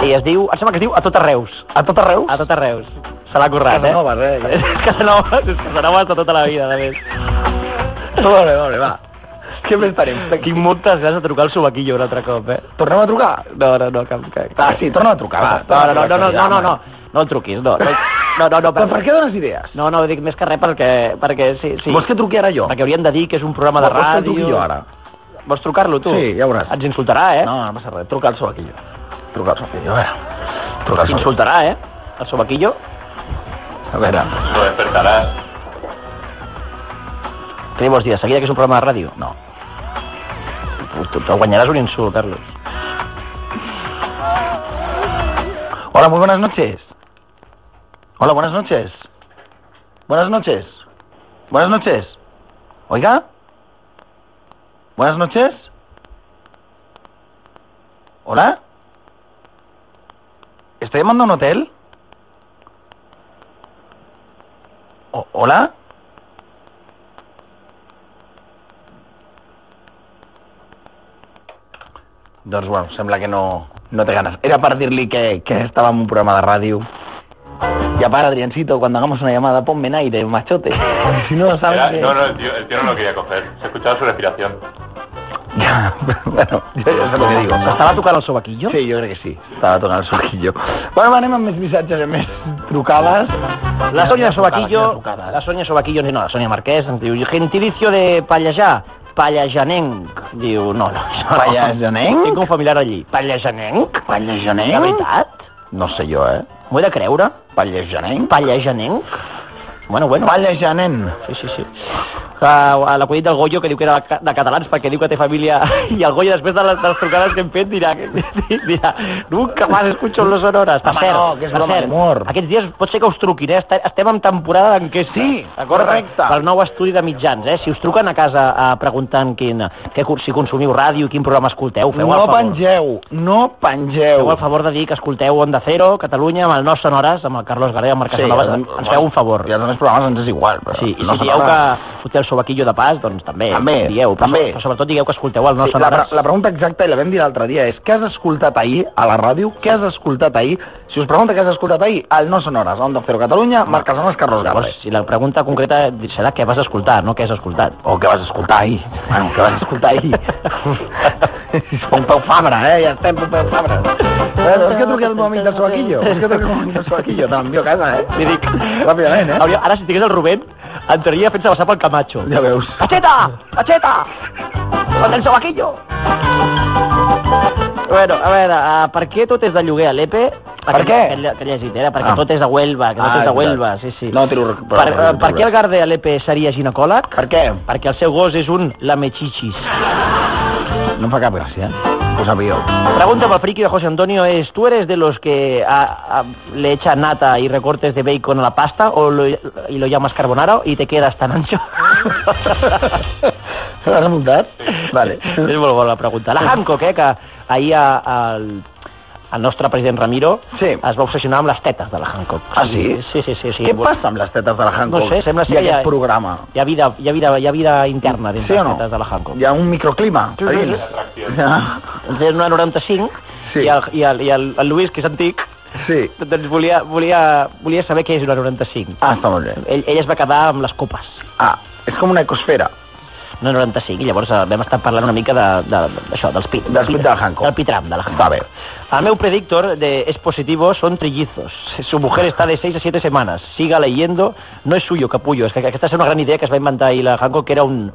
I es diu, em sembla que es diu A tot Reus. A tot arreu? A tot Reus. Se l'ha currat, Casanovas, eh, eh? ja. Casanova, és Casanova de tota la vida, a més. Molt bé, molt bé, va. Què més tenim? Quin moltes ganes de trucar al Subaquillo un altre cop, eh? Tornem a trucar? No, no, no, cap, cap. Ah, sí, torna a trucar, va. No, no, no, no, no, no, no, no el truquis, no. No, no, no, no Però per què dones idees? No, no, dic més que res perquè, perquè sí, sí. Vols que truqui ara jo? Perquè hauríem de dir que és un programa de Vols que ràdio. truqui jo ara? Vols trucar-lo, tu? Sí, ja ho veuràs. Ens insultarà, eh? No, no passa res. Truca al Sobaquillo. Truca al Sobaquillo, a veure. Truca al Sobaquillo. Insultarà, eh? El sobaquillo. A veure. Lo despertarás. Què li vols dir? De seguida que és un programa de ràdio? No. Pues Tu, tu guanyaràs un insult, Carlos. Hola, muy buenas noches. Hola, buenas noches. Buenas noches. Buenas noches. Oiga. Buenas noches. Hola. ¿Estoy llamando a un hotel? O- ¿Hola? Doncs bueno, sembla que no, no té ganas. Era para decirle que, que estaba en un programa de radio. Ya para, Adriancito, cuando hagamos una llamada, ponme en aire, machote. Si no lo sabes... Era- que- no, no, el tío, el tío no lo quería coger. Se escuchaba su respiración. Ya, bueno, jo ja sé el que digo. Estava tocant el sobaquillo? Sí, jo crec que sí. Estava tocant el soquillo. Bueno, va, anem amb més missatges i més trucades. La Sonia Sobaquillo, trucada, la Sonia Sobaquillo, no, la Sonia Marquès, ens diu, gentilicio de Pallejà, Pallejanenc. Diu, no, no. això no. Pallejanenc? Tinc un familiar allí. Pallejanenc? Pallejanenc? De veritat? No sé jo, eh? M'ho he de creure? Pallejanenc? Pallejanenc? Bueno, bueno. Pallejanenc. Sí, sí, sí. Uh, a L'acudit del Goyo, que diu que era de ca- de catalans perquè diu que té família... I el Goyo, després de les, de les trucades que hem fet, dirà... dirà Nunca más escucho los sonores. Està Home, cert. no, que és està broma cert. d'humor. Aquests dies pot ser que us truquin, eh? Esta- Estem en temporada d'enquesta. Sí, D'acord? correcte. Pel nou estudi de mitjans, eh? Si us truquen a casa eh, preguntant quin, que, si consumiu ràdio, quin programa escolteu, feu el No favor. pengeu, no Feu pengeu. el favor de dir que escolteu Onda Cero, Catalunya, amb el No Sonores, amb el Carlos Garriga, amb el Casanovas. ens feu un favor. I els altres programes ens és igual. Però Sí, i no si dieu que foteu el sobaquillo de pas, doncs també, També, dieu, però, també. però sobretot digueu que escolteu el Sí, nostre la, pre- la pregunta exacta, i la vam dir l'altre dia, és què has escoltat ahir a la ràdio? Què has escoltat ahir? Si us pregunta què has escoltat ahir, al No Son Hores, a Onda Cero Catalunya, Marc Casanovas, Carlos Garre. Llavors, si la pregunta concreta serà què vas escoltar, no què has escoltat. O què vas escoltar ahir? Bueno, què vas escoltar ahir? Pompeu Fabra, eh? Ja estem Pompeu Fabra. Eh, vols que truqui al meu amic de Soaquillo? Vols que truqui al meu amic de Soaquillo? Te l'envio a casa, eh? Li dic... Ràpidament, eh? Hauria, ara, si tingués el Rubén, entraria fent-se passar pel Camacho. Ja veus. ¡Cacheta! ¡Cacheta! ¡Con el sobaquillo! Bueno, a veure, uh, per què tot és de lloguer a l'EPE? Per què? Que, lle- que he llegit, era perquè Ah. tot és de Huelva, que Ah, tot és de és Huelva, veritat. sí, sí. No tiro Per, rec- però- eh, per què el Garde a l'EPE seria ginecòleg? Per què? Perquè el seu gos és un lamechichis. No em fa cap gràcia. Ho sabíeu. Pregunta pel friki de José Antonio es, ¿tú eres de los que a- a- le echan nata y recortes de bacon a la pasta o lo- y lo llamas carbonara y te quedas tan ancho? L'has apuntat? Vale. És molt bona la pregunta. La Hancock, eh, que ahir a, al, el nostre president Ramiro Sí. es va obsessionar amb les tetes de la Hancock. Ah, sí? Sí, sí, sí. sí. Què passa amb les tetes de la Hancock? No sé, sembla ser I que hi ha- aquest programa. Hi ha vida, hi ha vida, hi ha vida interna dins Sí o les no? tetes de la Hancock. Hi ha un microclima. Sí, a sí, dins. sí. Atracción. Ja. Ens deien una 95 Sí. i, el, i, el, i el, el Lluís, que és antic, Sí. doncs volia, volia, volia saber què és una 95. Ah, està molt bé. Ell, ell es va quedar amb les copes, Ah, és com una ecosfera. una 95, i llavors eh, vam estar parlant una mica d'això, de, de, d'això, dels pit, Del pit de la Hancock. Del pitram de la Hancock. Està bé. El meu predictor de es positivo son trillizos. Su mujer está de 6 a 7 semanas. Siga leyendo. No es suyo, capullo. És que aquesta és una gran idea que es va inventar ahir la Hancock, que era un,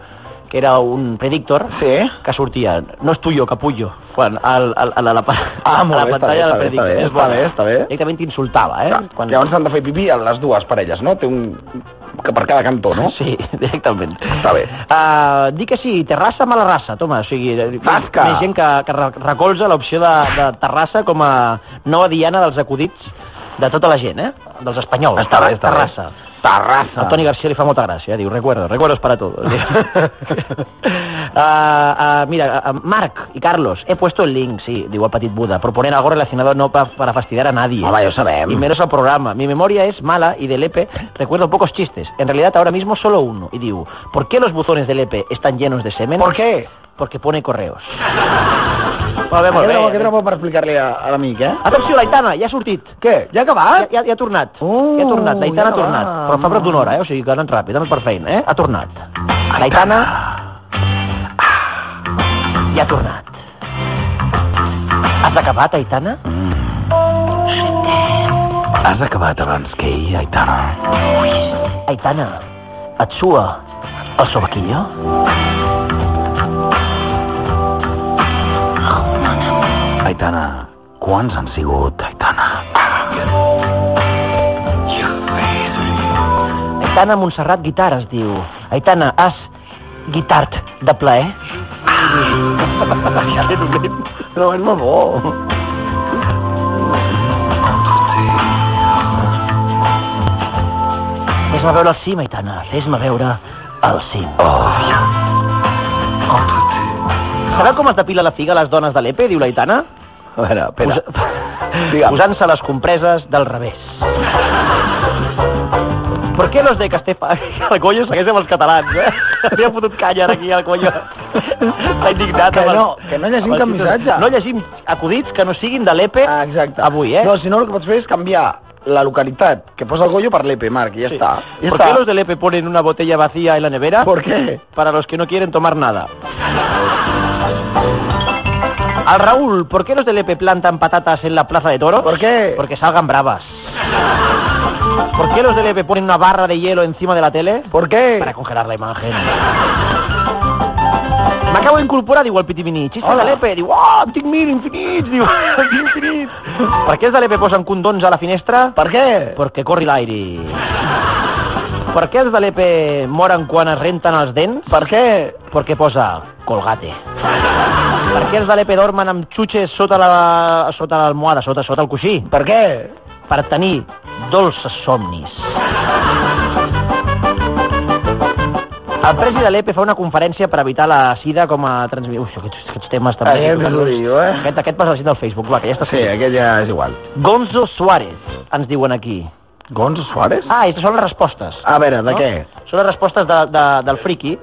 que era un predictor Sí. que sortia. No és tuyo, capullo. Quan al, al, a la, a la, Ah, a molt la bé, està pantalla bé, del està bé, predictor. està bé, És està bona. bé, està bé. Directament t'insultava, eh? Clar, Llavors han de fer pipí a les dues parelles, no? Té un... que per cada cantó, no? Sí, directament. Està bé. Uh, di que sí, Terrassa, mala raça, toma. O sigui, Tasca! Hi ha gent que, que re- recolza l'opció de, de Terrassa com a nova diana dels acudits de tota la gent, eh? Dels espanyols. Està bé, està bé. Terrassa. Tarraza. A Toni García le fa molta gràcia, diu, recuerdo, recuerdos para todos. Ah, ah, mira, ah, Marc y Carlos, he puesto el link, sí, digo al Petit Buda, proponer algo relacionado no pa- para fastidiar a nadie. Home, ja ho sabem. Y menos al programa. Mi memoria es mala y del EP recuerdo pocos chistes. En realidad ahora mismo solo uno. Y digo, ¿por qué los buzones del EP están llenos de semen? ¿Por qué? Porque pone correos. Va bé, molt Aquest bé. era, aquest era bo per explicar-li a, a l'amic, eh? Atenció, l'Aitana, ja ha sortit. Què? Ja ha Ja, acabat? ja, ja ha tornat. Uh, ja ha tornat, l'Aitana ja ha tornat. va. Però fa prop d'una hora, eh? O sigui que ha anat ràpid, ha anat per feina, eh? Ha tornat. L'Aitana... Ja ha tornat. Has acabat, Aitana? Has acabat abans que ell, Aitana. Aitana, et sua el sobaquillo? Aitana, quants han sigut, Aitana? Aitana Montserrat Guitar es diu. Aitana, has guitart de plaer? Però és molt bo. Fes-me veure el cim, Aitana. Fes-me veure el cim. Oh. Sabeu com es depila la figa a les dones de l'EPE, diu l'Aitana? A veure, espera. Posa... Digue'm. Posant-se les compreses del revés. ¿Por qué los de Castefa... El Collo segueix amb els catalans, eh? Li ha fotut canya ara aquí, el Collo. Està indignat. Que amb el- no, que no amb llegim el cap títol. missatge. No llegim acudits que no siguin de l'EPE Ah, exacte. avui, eh? No, si no, el que pots fer és canviar la localitat que posa el Goyo per l'EP, Marc, i ja està. Ja ¿Por està. qué los del EPE ponen una botella vacía en la nevera? ¿Por qué? Para los que no quieren tomar nada. Al Raúl, ¿por qué los del EPE plantan patatas en la plaza de toros? ¿Por qué? Porque salgan bravas. ¿Por qué los del EPE ponen una barra de hielo encima de la tele? ¿Por qué? Para congelar la imagen. Me acabo de incorporar, diu el Piti Mini. Xistes de l'EPE. Diu, oh, en tinc mil infinits. Diu, en tinc infinits. Per què els de l'EPE posen condons a la finestra? Per què? Perquè corri l'aire. Per què els de l'EPE moren quan es renten els dents? Per què? Perquè posa colgate. Per què els de l'EPE dormen amb xutxes sota la sota l'almohada, sota, sota el coixí? Per què? Per tenir dolces somnis. El presi de l'EPE fa una conferència per evitar la sida com a transmissió. Ui, aquests, aquests temes també... Aquest és l'orió, eh? Aquest, aquest passa al sida del Facebook, va, que ja està Sí, aquest ja és igual. Gonzo Suárez, ens diuen aquí. Gonzo Suárez? Ah, aquestes són les respostes. A veure, Ah, de què? Són les respostes de, de, del friki.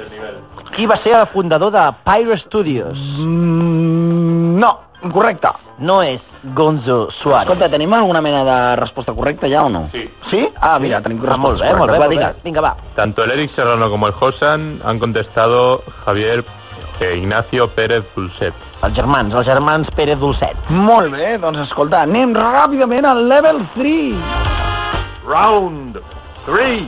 Qui va ser el fundador de Pyro Studios? Mm, no, correcte. No és Gonzo Suárez. Escolta, tenim alguna mena de resposta correcta ja o no? Sí. Sí? Ah, mira, tenim ah, molt bé, correctes. molt bé. Va, molt bé. digues. Vinga, va. Tanto el Eric Serrano como el Josan han contestado Javier eh, Ignacio Pérez Pulset. Els germans, els germans Pérez Dulcet. Molt bé, doncs escolta, anem ràpidament al level 3. Round 3.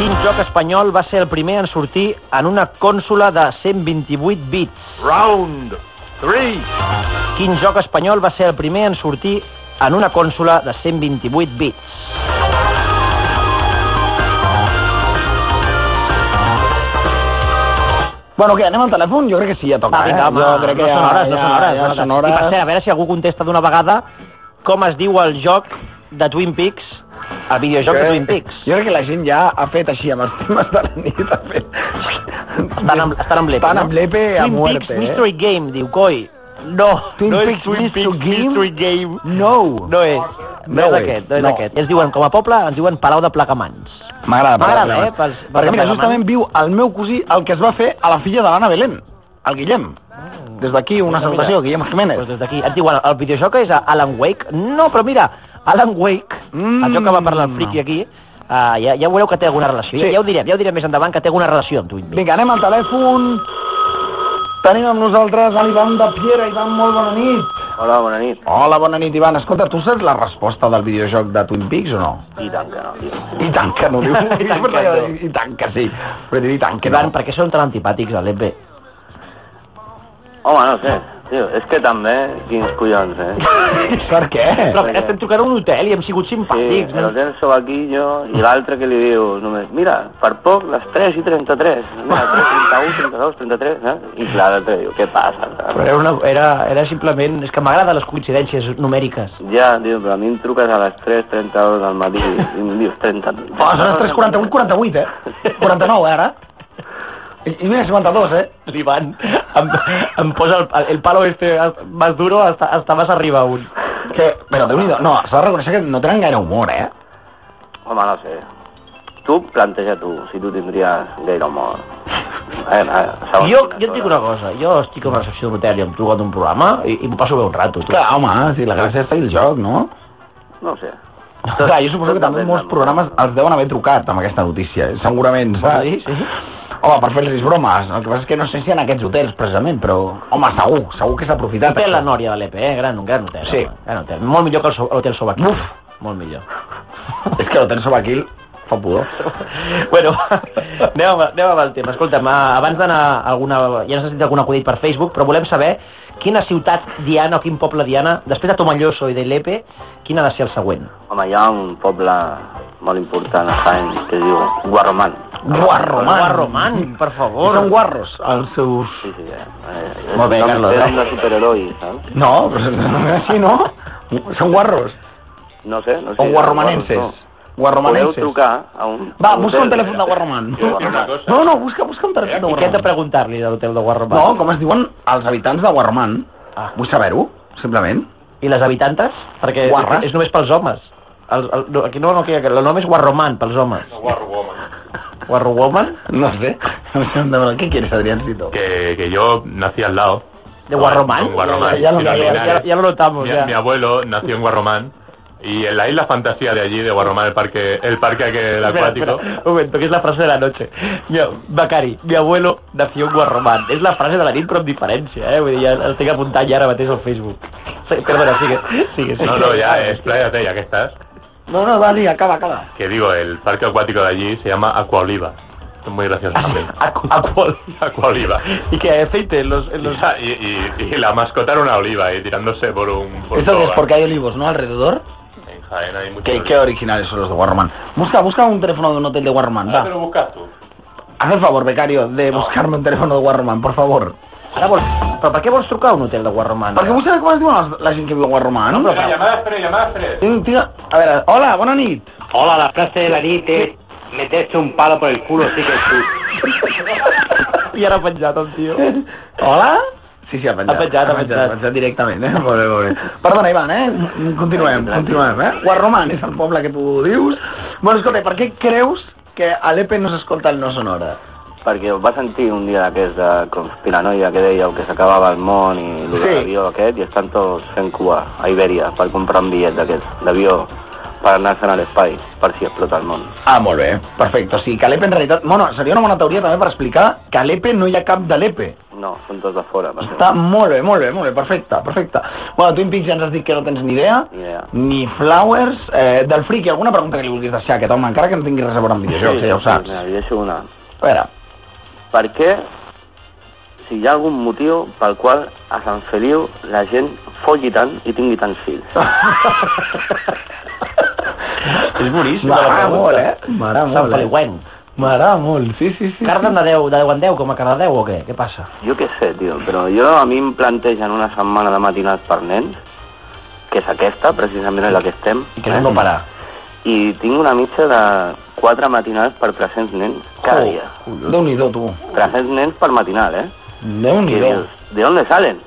Quin joc espanyol va ser el primer en sortir en una cònsola de 128 bits? Round 3. Quin joc espanyol va ser el primer en sortir en una cònsola de 128 bits? Bueno, què, anem al telèfon? Jo crec que sí, ja toca. Va, Ah, vinga, eh? home, jo crec que no ja, són hores, no ja, són hores. ja no són I hores. per cert, a veure si algú contesta d'una vegada com es diu el joc de Twin Peaks, el videojoc de Twin Peaks. Jo crec que la gent ja ha fet així amb els temes de la nit, ha fet... Estan amb, estan amb l'EPE, Estan amb l'EPE a Twin muerte, Peaks eh? Mystery Game, diu, coi. No, Twin no és Peaks Twin Mystery Peaks Game? Mystery Game. No. No és. No, No és és, aquest, no és no. aquest. Ells diuen, com a poble, ens diuen Palau de Plegamans. M'agrada, M'agrada, m'agrada. eh, pels- pels Perquè, mira, Plegamans. justament viu el meu cosí, el que es va fer a la filla de l'Anna Belén, el Guillem. Des d'aquí, una Doncs mira, salutació, Guillem Jiménez. Doncs des d'aquí. Et diuen, el videojoc és a Alan Wake? No, però mira, Alan Wake, Mm. el joc que va parlar el friki aquí, ah, ja, ja veureu que té alguna relació. Ja, Sí. ja ho direm, ja ho direm més endavant, que té alguna relació amb Twin Peaks. Vinga, anem al telèfon. Tenim amb nosaltres a l'Ivan de Piera. Ivan, molt bona nit. Hola, bona nit. Hola, bona nit, Ivan. Escolta, tu saps la resposta del videojoc de Twin Peaks o no? I tant que no, tio. I tant que no, diu. I tant que no. I tant que sí. Però dir, i tant que Ivan, no. per què són tan antipàtics a l'EP? Home, no sé. Tio, és que també, quins collons, eh? Per què? Però estem trucant a un hotel i hem sigut Sí, simpàtics. el tens sobaquillo i l'altre que li diu només, mira, per poc les 3 i 33, mira, 3, 31, 32, 33, eh? I clar, l'altre diu, què passa? Però era, una, era, era simplement... És que m'agraden les coincidències numèriques. Ja, diu, però a mi em truques a les 3.32 del matí i em dius 30... Oh, Ah. són les 3.48, 48, eh? 49, eh, ara. I, i mira, 52, eh? L'Ivan em, em posa el, el palo este más duro hasta, hasta más arriba un. Que, però déu nhi no, s'ha de reconèixer que no tenen gaire humor, eh? Home, no sé. Tu planteja tu, si tu tindries gaire humor. Eh, eh, segons Jo, quines jo et dic hores. una cosa, jo estic a la recepció d'un hotel i em truco d'un programa i, i m'ho passo bé un rato. Tu. Clar, home, si la gràcia està i el joc, no? No ho sé. Clar, jo suposo que també molts programes els deuen haver trucat amb aquesta notícia, eh? segurament, saps? Sí, sí. Home, per fer-los bromes. El que passa és que no sé si en aquests hotels, precisament, però... Home, segur, segur que s'ha aprofitat. Hotel La això. Nòria de l'EP, eh? gran, un gran hotel. Sí. home, Gran hotel. Molt millor que el so- l'hotel Sobaquí. Uf! Molt millor. És que l'hotel Sobaquil fa pudor. bueno, anem, amb, anem amb el tema. Escolta'm, ah, abans d'anar a alguna... Ja ens has dit algun acudit per Facebook, però volem saber quina ciutat diana o quin poble diana, després de Tomalloso i de Lepe, quin ha de ser el següent? Home, hi ha un poble molt important a Jaén que es diu Guarromán. Guarromán. Guarromán, per favor. Són guarros, els seus... Sí, sí, eh. eh Molt bé, és un Carlos, Era eh? un de superheroi, saps? No, així no. Són guarros. No sé, no sé. O guarromanenses. No. Podeu Guarromanenses. trucar a un... Va, a un busca un hotel, telèfon de eh? Guarroman. Sí, Guarromán. No, no, busca, busca un I telèfon de què hem de Guarroman. preguntar-li de l'hotel de Guarromán? No, com es diuen els habitants de Guarroman. Ah. Vull saber-ho, simplement. I les habitantes? Perquè Guarres. és, és només pels homes. El, el, no, aquí no, no, que el nom és Guarromán, pels homes. Guarrowoman? No sé. ¿Qué quieres, Adriancito? Que, que yo nací al lado. ¿De Guarromán? En Guarromán. Ya, ya lo- Pero al ya- final, ya- ya lo notamos, Mi, ya. mi abuelo nació en Guarromán. Y en la isla fantasía de allí, de Guarromán, el parque, el parque aquel acuático. un momento, que es la frase de la noche. Mi, Becari, mi abuelo nació en Guarromán. És la frase de la nit, però amb diferència, eh? Vull dir, ja el tinc apuntat ja ara mateix al Facebook. Sí, Perdona, sigue, sigue, sigue. No, no, eh, ya, expláyate, ya que estás. No, no, dale, acaba, acaba. Que digo, el parque acuático de allí se llama Acuaoliva. Es muy gracioso también. Acu- acu- Acuaoliva. I que aceite en los... En los... Y, y, y la mascota era una oliva y tirándose por un... Por Eso todo, es porque hay olivos, ¿no? Alrededor. En Jaén hay mucho Qué, qué originales son los de Guarroman. Busca, busca un teléfono de un hotel de Guarroman, Ah, te lo va. buscas tú. Haz el favor, becario, de buscarme un teléfono de Guarroman, por favor. Ara vols... Però per què vols trucar a un hotel de Guarromán? Perquè vull saber com es diuen els- la gent que viu a Guarroman, no? Venga, llamadas tres, llamadas tres. Tinc- tinc- A veure, hola, bona nit. Hola, la frase de la nit és meterse un palo por el culo sí que és tu. I ara ha penjat el tio. Hola? Sí, sí, ha penjat. Ha penjat, ha Ha penjat. penjat directament, eh? Molt bé, molt bé. Perdona, Ivan, eh? Continuem, continuem, eh? Guarroman és el poble que tu dius. Bueno, escolta, per què creus que a l'EPE no s'escolta el No Sonora? Perquè va sentir un dia d'aquests de conspiranoia que dèieu que s'acabava el món i el de Sí. l'avió aquest i estan tots fent cua a Ibèria per comprar un bitllet d'aquests d'avió per anar-se'n a l'espai, per si explota el món. Ah, molt bé. Perfecte. O sigui, que a l'EPE en realitat... Bueno, seria una bona teoria també per explicar que a l'EPE no hi ha cap de l'EPE. No, són tots de fora. Per Està molt bé, molt bé, molt bé. Perfecte, perfecte. Bueno, Twin Peaks ja ens has dit que no tens ni idea. Ni idea. Ni Flowers. Eh, del Friki, alguna pregunta que li vulguis deixar a aquest home, encara que no tingui res a veure amb videojocs, ja ho saps. Mira, li deixo una. A veure, Per què, si hi ha algun motiu pel qual a Sant Feliu la gent folli tant i tingui tants fills? És boníssim. M'agrada molt, eh? M'agrada Sant molt, eh? Feliuenc. M'agrada molt, sí, sí, sí. Carden de 10, de 10 en 10, com a cada 10 o què? Què passa? Jo què sé, tio, però jo a mi em plantegen una setmana de matinades per nens, que és aquesta, precisament en la que estem, eh? I que no Mm. no parar. i tinc una mitja de 4 matinades per 300 nens Oh. cada dia. Déu-n'hi-do, tu. 300 nens per matinal, eh? I Déu-n'hi-do. dius, ¿De dónde salen?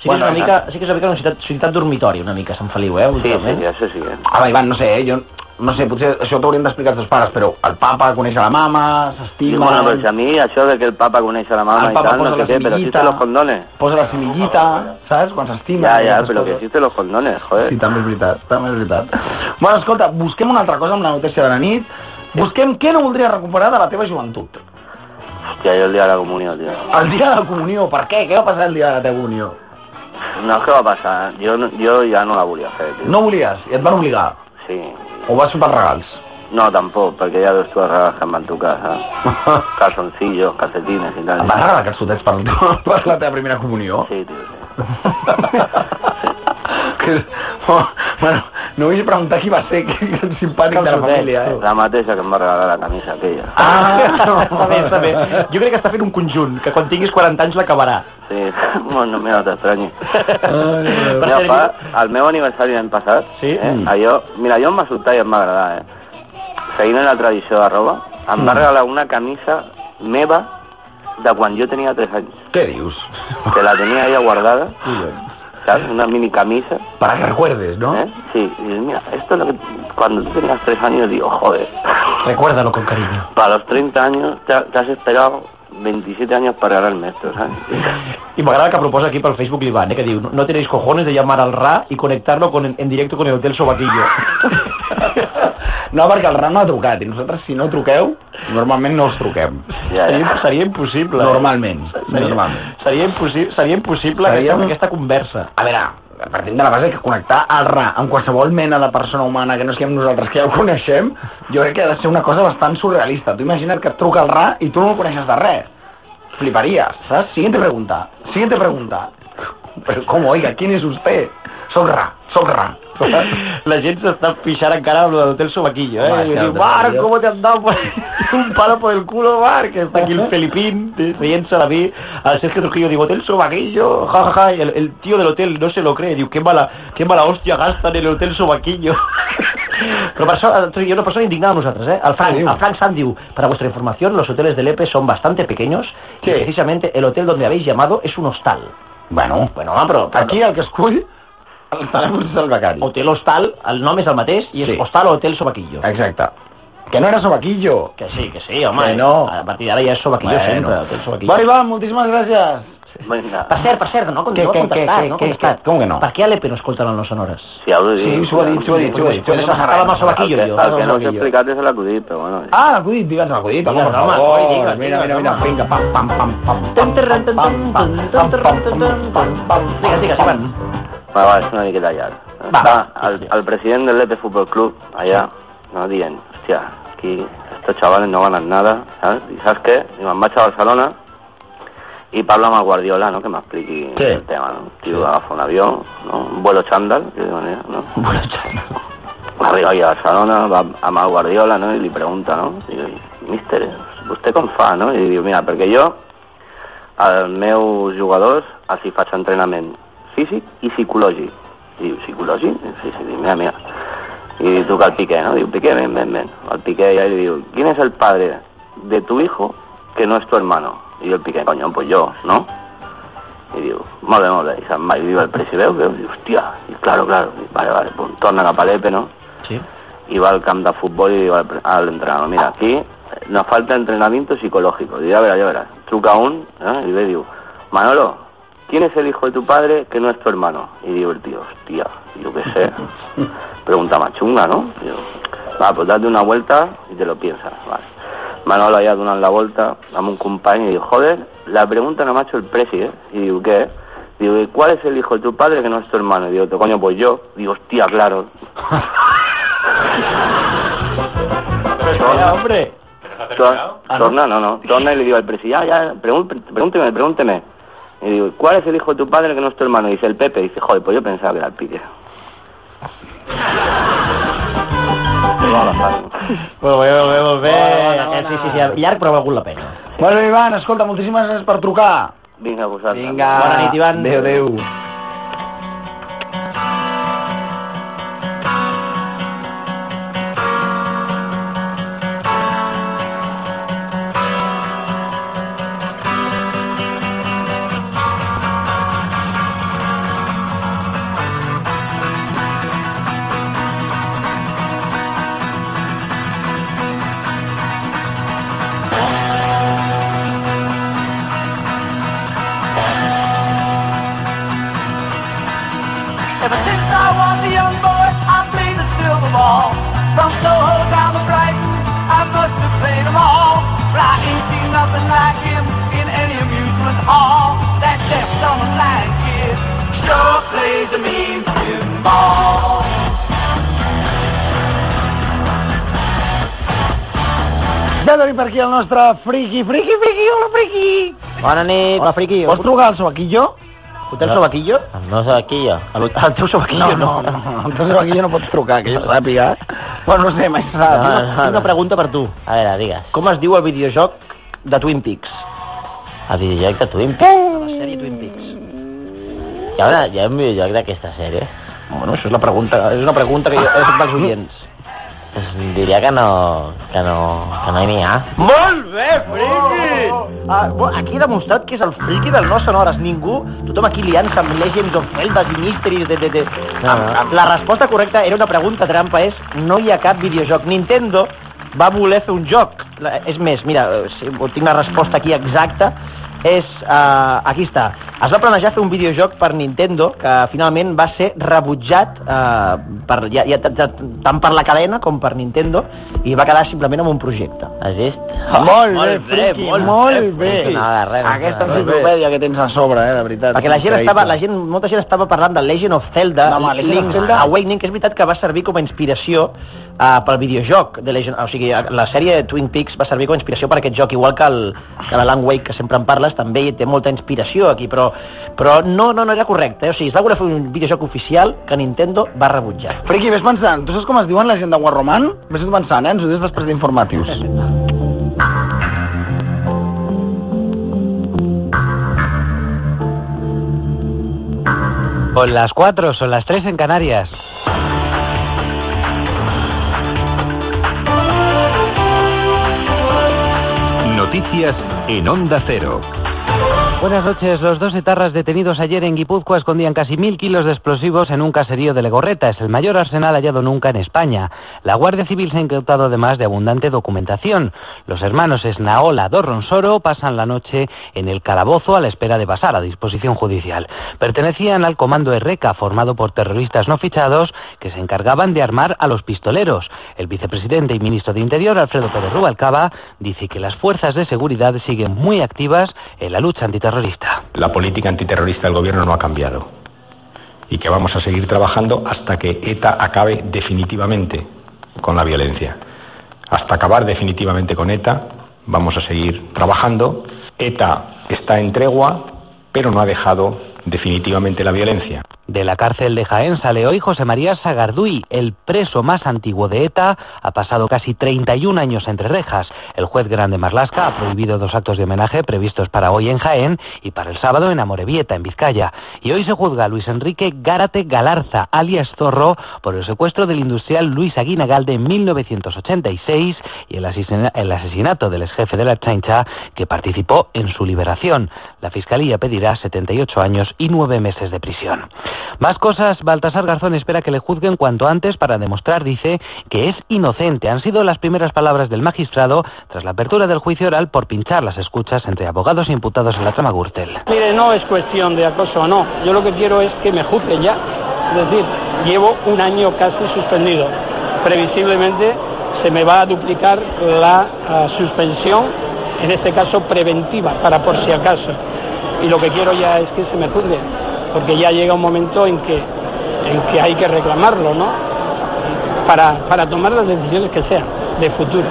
Sí que, és una Bueno, mica, sí que és una mica una ciutat, ciutat dormitori, una mica, Sant Feliu, eh? Sí, sí, últimament. sí, això sí, eh? Home, Ivan, no sé, eh? jo no sé, potser això t'ho haurien d'explicar els teus pares, però el papa coneix a la mama, Sí, s'estima... bueno, però si a mi això de que el papa coneix a la mama el i papa tal, posa no la sé què, però si semillita, te los condones. posa la semillita, saps? Quan s'estima... Ja, i ja, aquestes però que eh. coses. existe los condones, joder. Sí, també és veritat, també és veritat. Bueno, escolta, busquem una altra cosa amb la notícia de la nit. Busquem què no voldries recuperar de la teva joventut. Hòstia, jo el dia de la comunió, tio. El dia de la comunió, per què? Què va passar el dia de la teva comunió? No, què va passar? eh. Jo, no- jo ja no la volia fer, tio. No volies, i et van obligar. Sí. O vas sopar regals. No, tampoc, perquè hi ha dos tuarragas que em van tocar, saps? Calzoncillos, calcetines i tal. Em vas regalar calçotets per, per la teva primera comunió? Sí, tio, sí. que, oh, bueno, no vull preguntar qui va ser, que és el simpàtic de la família, eh? Ah. La mateixa que em va regalar la camisa aquella. està bé, està bé. Jo crec que està fent un conjunt, que quan tinguis 40 anys l'acabarà. Sí, bueno, no, mira, no t'estranyi. Déu. Mira, pa, el meu aniversari l'any passat, Sí? eh, Mm. allò, mira, jo em va sobtar i em va agradar, eh? Seguint en la tradició de roba, em Mm. va regalar una camisa meva de quan jo tenia 3 anys, Què dius? que la tenia ella guardada, ¿sabes? Una mini camisa, Para que recuerdes, ¿no? ¿eh? Sí, y dices, mira, esto es lo que cuando tú tenías 3 años, digo, joder, Recuérdalo con cariño. para los 30 años te, ha- te has esperado 27 años para regalarme esto, ¿sabes? Y m'agrada que proposa aquí pel Facebook l'Ivan, eh, que diu no tenéis cojones de llamar al RA y conectarlo con, en directo con el Hotel Sobaquillo. No, perquè el Ram no ha trucat i nosaltres, si no truqueu, normalment no us truquem. Ya, seria, ya. seria impossible. eh? Normalment, Seria, normalment. seria, impossible, seria impossible Seria- Aquesta, aquesta conversa. A veure, partim de la base que connectar el Ra amb qualsevol mena de persona humana que no siguem nosaltres, que ja ho coneixem, jo crec que ha de ser una cosa bastant surrealista. Tu imagina't que et truca el Ra i tu no el coneixes de res. Fliparies, saps? Siguiente pregunta. Siguiente pregunta. Però com, oiga, ¿quién es usted? Soc Ra, soc Ra. La gent s'està pixant encara amb l'hotel Sobaquillo, eh? Home, Home, sí, diu, el Marc, Sobaquillo. com te han dado por- un palo por el culo, Marc? Que Està aquí el Felipín, eh, rient-se la vi. El Sergio Trujillo diu, hotel Sobaquillo, ja, ja, ja. I El, el tío del hotel no se lo cree, diu, qué mala, qué mala hostia gastan en el hotel Sobaquillo. Però per això, eh, hi ha una persona indignada amb nosaltres, eh? El Frank, diu? el Frank San diu, para vuestra información, los hoteles del EPE son bastante pequeños Sí. y precisamente el hotel donde habéis llamado es un hostal. Bueno, Bueno, home, però... però- aquí el que escull el telèfon és el becari. Hotel Hostal, el nom és el mateix, i és Sí. Hostal o Hotel Sobaquillo. Exacte. Que no era sobaquillo. Que sí, que sí, home. Que eh? no. A partir d'ara ja és sobaquillo sempre. Hotel sobaquillo. Bueno, Ivan, moltíssimes gràcies. Venga. Per cert, per cert, no, con- Que- no que- ha contestat, que- no ha que- contestat. que- com que no? Per què a l'EPE no escolten el No Sonores? Sí, algo de- Sí, s'ho ha dit, s'ho ha dit, s'ho ha Pues dit. Pues eso pasa estaba nada. más sobaquillo. Al que, yo, al que no no, os yo. explicaste se la acudí, pero bueno. Ah, l'acudit, digue'ns l'acudit, home, Digue'ns, per home, favor. coi, digue'ns, Oh, Mira, mira, digue'ns, mira, home. vinga, pam, pam, pam, pam, pam, Tan, tan, tan, pam, pam, tan, tan, pam, pam, tan, tan, pam, pam, Digues, digues, pam. Ivan. Va, va, és una miqueta llarg. Va, Va, va. el, el president del Lepe Futbol Club, allà, no, dient, hòstia, aquí estos chavales no ganan nada, saps? I saps què? I me'n vaig a Barcelona i parlo amb el Guardiola, no?, que m'expliqui Sí. el tema, no? El Tio, agafa un avió, no? Un vuelo xandall, que diuen, allà, no? Bueno, xana. Arriba ahí a Barcelona, va a Mau Guardiola, ¿no? Y le pregunta, ¿no? Y digo, mister, ¿usted con fa, no? Y digo, mira, porque yo, als meus jugadors, els hi faig entrenament físic i psicològic. I diu, psicològic? Sí, sí, dic, mira, mira. I truca al Piqué, no? Diu, Piqué, ven, ven, ven. Al Piqué ja li diu, ¿quién es el padre de tu hijo que no es tu hermano? I diu el Piqué, coño, pues yo, ¿no? I diu, molt bé, molt bé. I se'n va i diu el president, veu? Diu, hòstia, i claro, claro. I, vale, vale, pum, torna cap a l'EPE, no? Sí. y va al camp de fútbol y va al, al entrenador. Mira, aquí nos falta entrenamiento psicológico. Y ya verás, ya verás. Truca un ¿eh? y le digo, Manolo, ¿quién es el hijo de tu padre que no es tu hermano? Y digo el tío, hostia, yo qué sé. Pregunta más chunga, ¿no? Digo, va, pues date una vuelta y te lo piensas. Vale. Manolo allá donat la vuelta, dame un compañero y digo, joder, la pregunta no me ha hecho el presi, ¿eh? Y digo, ¿qué? Digo, ¿y cuál es el hijo de tu padre que no es tu hermano? Y digo, coño, pues yo. Digo, hostia, claro, Espera, hombre. Tor- Torna, no, no. Torna y le digo al presidente, ya, ya, pregun- pregúnteme, pregúnteme. Y digo, ¿cuál es el hijo de tu padre que no es tu hermano? Y dice el Pepe. Y dice, joder, pues yo pensaba que era el Pique. Molt bé, molt bé, molt bé. Bona, bona, Sí, sí, sí, llarg però ha valgut la pena. Bueno, Ivan, escolta, moltíssimes gràcies per trucar. Vinga, vosaltres. Vinga. Bona nit, Ivan. Adéu, adéu. Ever since I was a young boy, I played the silver ball. From Soho down to Brighton, I must have played 'em all. But I ain't seen nothing like him in any amusement hall. That chef summer blind kid sure plays a mean tin ball. per aquí el nostre friki, friki, friki, hola friki. Bona nit, hola, friqui. Vols trucar al sobaquillo? Fotem sobaquillo? No sé aquí, al, al teu sobaquillo no. No, no, al teu sobaquillo no pots trucar, que jo sàpiga. Bueno, no sé, més Ah, raro. tinc, una, tinc una pregunta per tu. A veure, digues. Com es diu el videojoc de Twin Peaks? Eh! El videojoc de Twin Peaks. La sèrie Twin Peaks. Hi ha, una, hi ha un videojoc d'aquesta sèrie. Bueno, això és la pregunta, és una pregunta que jo he fet als oients. Pues diria que no... que no... que no n'hi ha. Molt bé, friki! Ah, bo- aquí he demostrat que és el friki del no sonores. Ningú, tothom aquí liant-se amb Legends of Zelda i Mysteries... De, de, de. No, Am- no. am- La resposta correcta era una pregunta trampa, és no hi ha cap videojoc. Nintendo va voler fer un joc. La, és més, mira, eh, si, ho tinc la resposta aquí exacta, és... eh, aquí està. Es va planejar fer un videojoc per Nintendo que finalment va ser rebutjat eh, per, ja, ja, t- t- tant per la cadena com per Nintendo i va quedar simplement amb un projecte. Has vist? Ah, Molt bé, friki, molt bé. No, de res, no, Aquesta de res. enciclopèdia que tens a sobre, eh, de veritat. Perquè la gent Increïble. estava, la gent, molta gent estava parlant de Legend of Zelda, No, home, Legend of Link's Zelda- Awakening, que és veritat que va servir com a inspiració uh, pel videojoc de Legend, o sigui, la sèrie de Twin Peaks va servir com a inspiració per aquest joc, igual que el que la Land Wake que sempre en parles també té molta inspiració aquí, però però no, no, no era correcte, eh? o sigui, es va voler fer un videojoc oficial que Nintendo va rebutjar. Friki, vés pensant, tu saps com es diuen la gent de Guarroman? Vés pensant, eh? Ens ho dius després d'informatius. Son las 4, son las 3 en Canarias. Noticias en Onda Cero. Buenas noches. Los dos etarras detenidos ayer en Guipúzcoa escondían casi mil kilos de explosivos en un caserío de Legorreta. Es el mayor arsenal hallado nunca en España. La Guardia Civil se ha incautado además de abundante documentación. Los hermanos Esnaola Dorronsoro pasan la noche en el calabozo a la espera de pasar a disposición judicial. Pertenecían al comando Erreca, formado por terroristas no fichados que se encargaban de armar a los pistoleros. El vicepresidente y ministro de Interior, Alfredo Pérez Rubalcaba, dice que las fuerzas de seguridad siguen muy activas en la lucha antiterrorista. La política antiterrorista del gobierno no ha cambiado y que vamos a seguir trabajando hasta que ETA acabe definitivamente con la violencia. Hasta acabar definitivamente con ETA vamos a seguir trabajando. ETA está en tregua, pero no ha dejado definitivamente la violencia. De la cárcel de Jaén sale hoy José María Sagarduy, el preso más antiguo de ETA, ha pasado casi 31 años entre rejas. El juez Grande Marlasca ha prohibido dos actos de homenaje previstos para hoy en Jaén y para el sábado en Amorebieta, en Vizcaya. Y hoy se juzga a Luis Enrique Gárate Galarza, alias Zorro, por el secuestro del industrial Luis Aguinagalde en 1986 y el, asesina- el asesinato del exjefe de la chancha que participó en su liberación. La Fiscalía pedirá 78 años y 9 meses de prisión. Más cosas, Baltasar Garzón espera que le juzguen cuanto antes para demostrar, dice, que es inocente. Han sido las primeras palabras del magistrado tras la apertura del juicio oral por pinchar las escuchas entre abogados e imputados en la trama Gürtel. Mire, no es cuestión de acoso o no. Yo lo que quiero es que me juzguen ya. Es decir, llevo un año casi suspendido. Previsiblemente se me va a duplicar la ah, suspensión, en este caso preventiva, para por si acaso. Y lo que quiero ya es que se me juzgue, porque ya llega un momento en que, en que hay que reclamarlo, ¿no? Para, para tomar las decisiones que sean de futuro.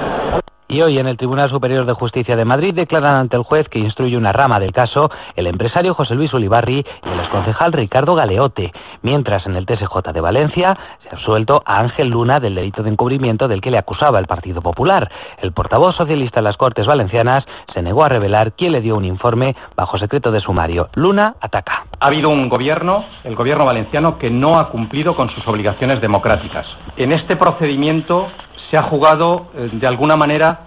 Y hoy en el Tribunal Superior de Justicia de Madrid declaran ante el juez que instruye una rama del caso el empresario José Luis Ulibarri y el exconcejal Ricardo Galeote, mientras en el TSJ de Valencia se ha absuelto a Ángel Luna del delito de encubrimiento del que le acusaba el Partido Popular. El portavoz socialista en las Cortes Valencianas se negó a revelar quién le dio un informe bajo secreto de sumario. Luna ataca. Ha habido un gobierno, el gobierno valenciano, que no ha cumplido con sus obligaciones democráticas. En este procedimiento se ha jugado, eh, de alguna manera,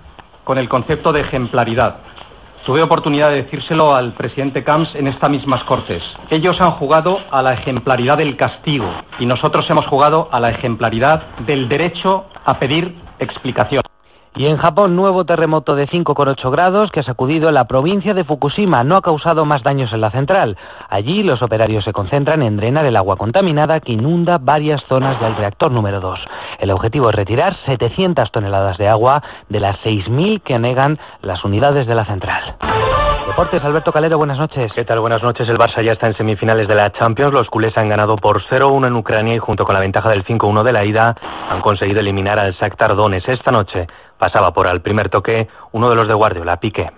con el concepto de ejemplaridad. Tuve oportunidad de decírselo al presidente Camps en estas mismas cortes. Ellos han jugado a la ejemplaridad del castigo y nosotros hemos jugado a la ejemplaridad del derecho a pedir explicación. Y en Japón, nuevo terremoto de 5,8 grados que ha sacudido la provincia de Fukushima. No ha causado más daños en la central. Allí, los operarios se concentran en drenar el agua contaminada que inunda varias zonas del reactor número 2. El objetivo es retirar 700 toneladas de agua de las 6.000 que anegan las unidades de la central. Deportes, Alberto Calero, buenas noches. ¿Qué tal? Buenas noches. El Barça ya está en semifinales de la Champions. Los culés han ganado por 0-1 en Ucrania y junto con la ventaja del 5-1 de la ida han conseguido eliminar al Shakhtar Donetsk esta noche. Pasaba por al primer toque uno de los de Guardiola, Piqué.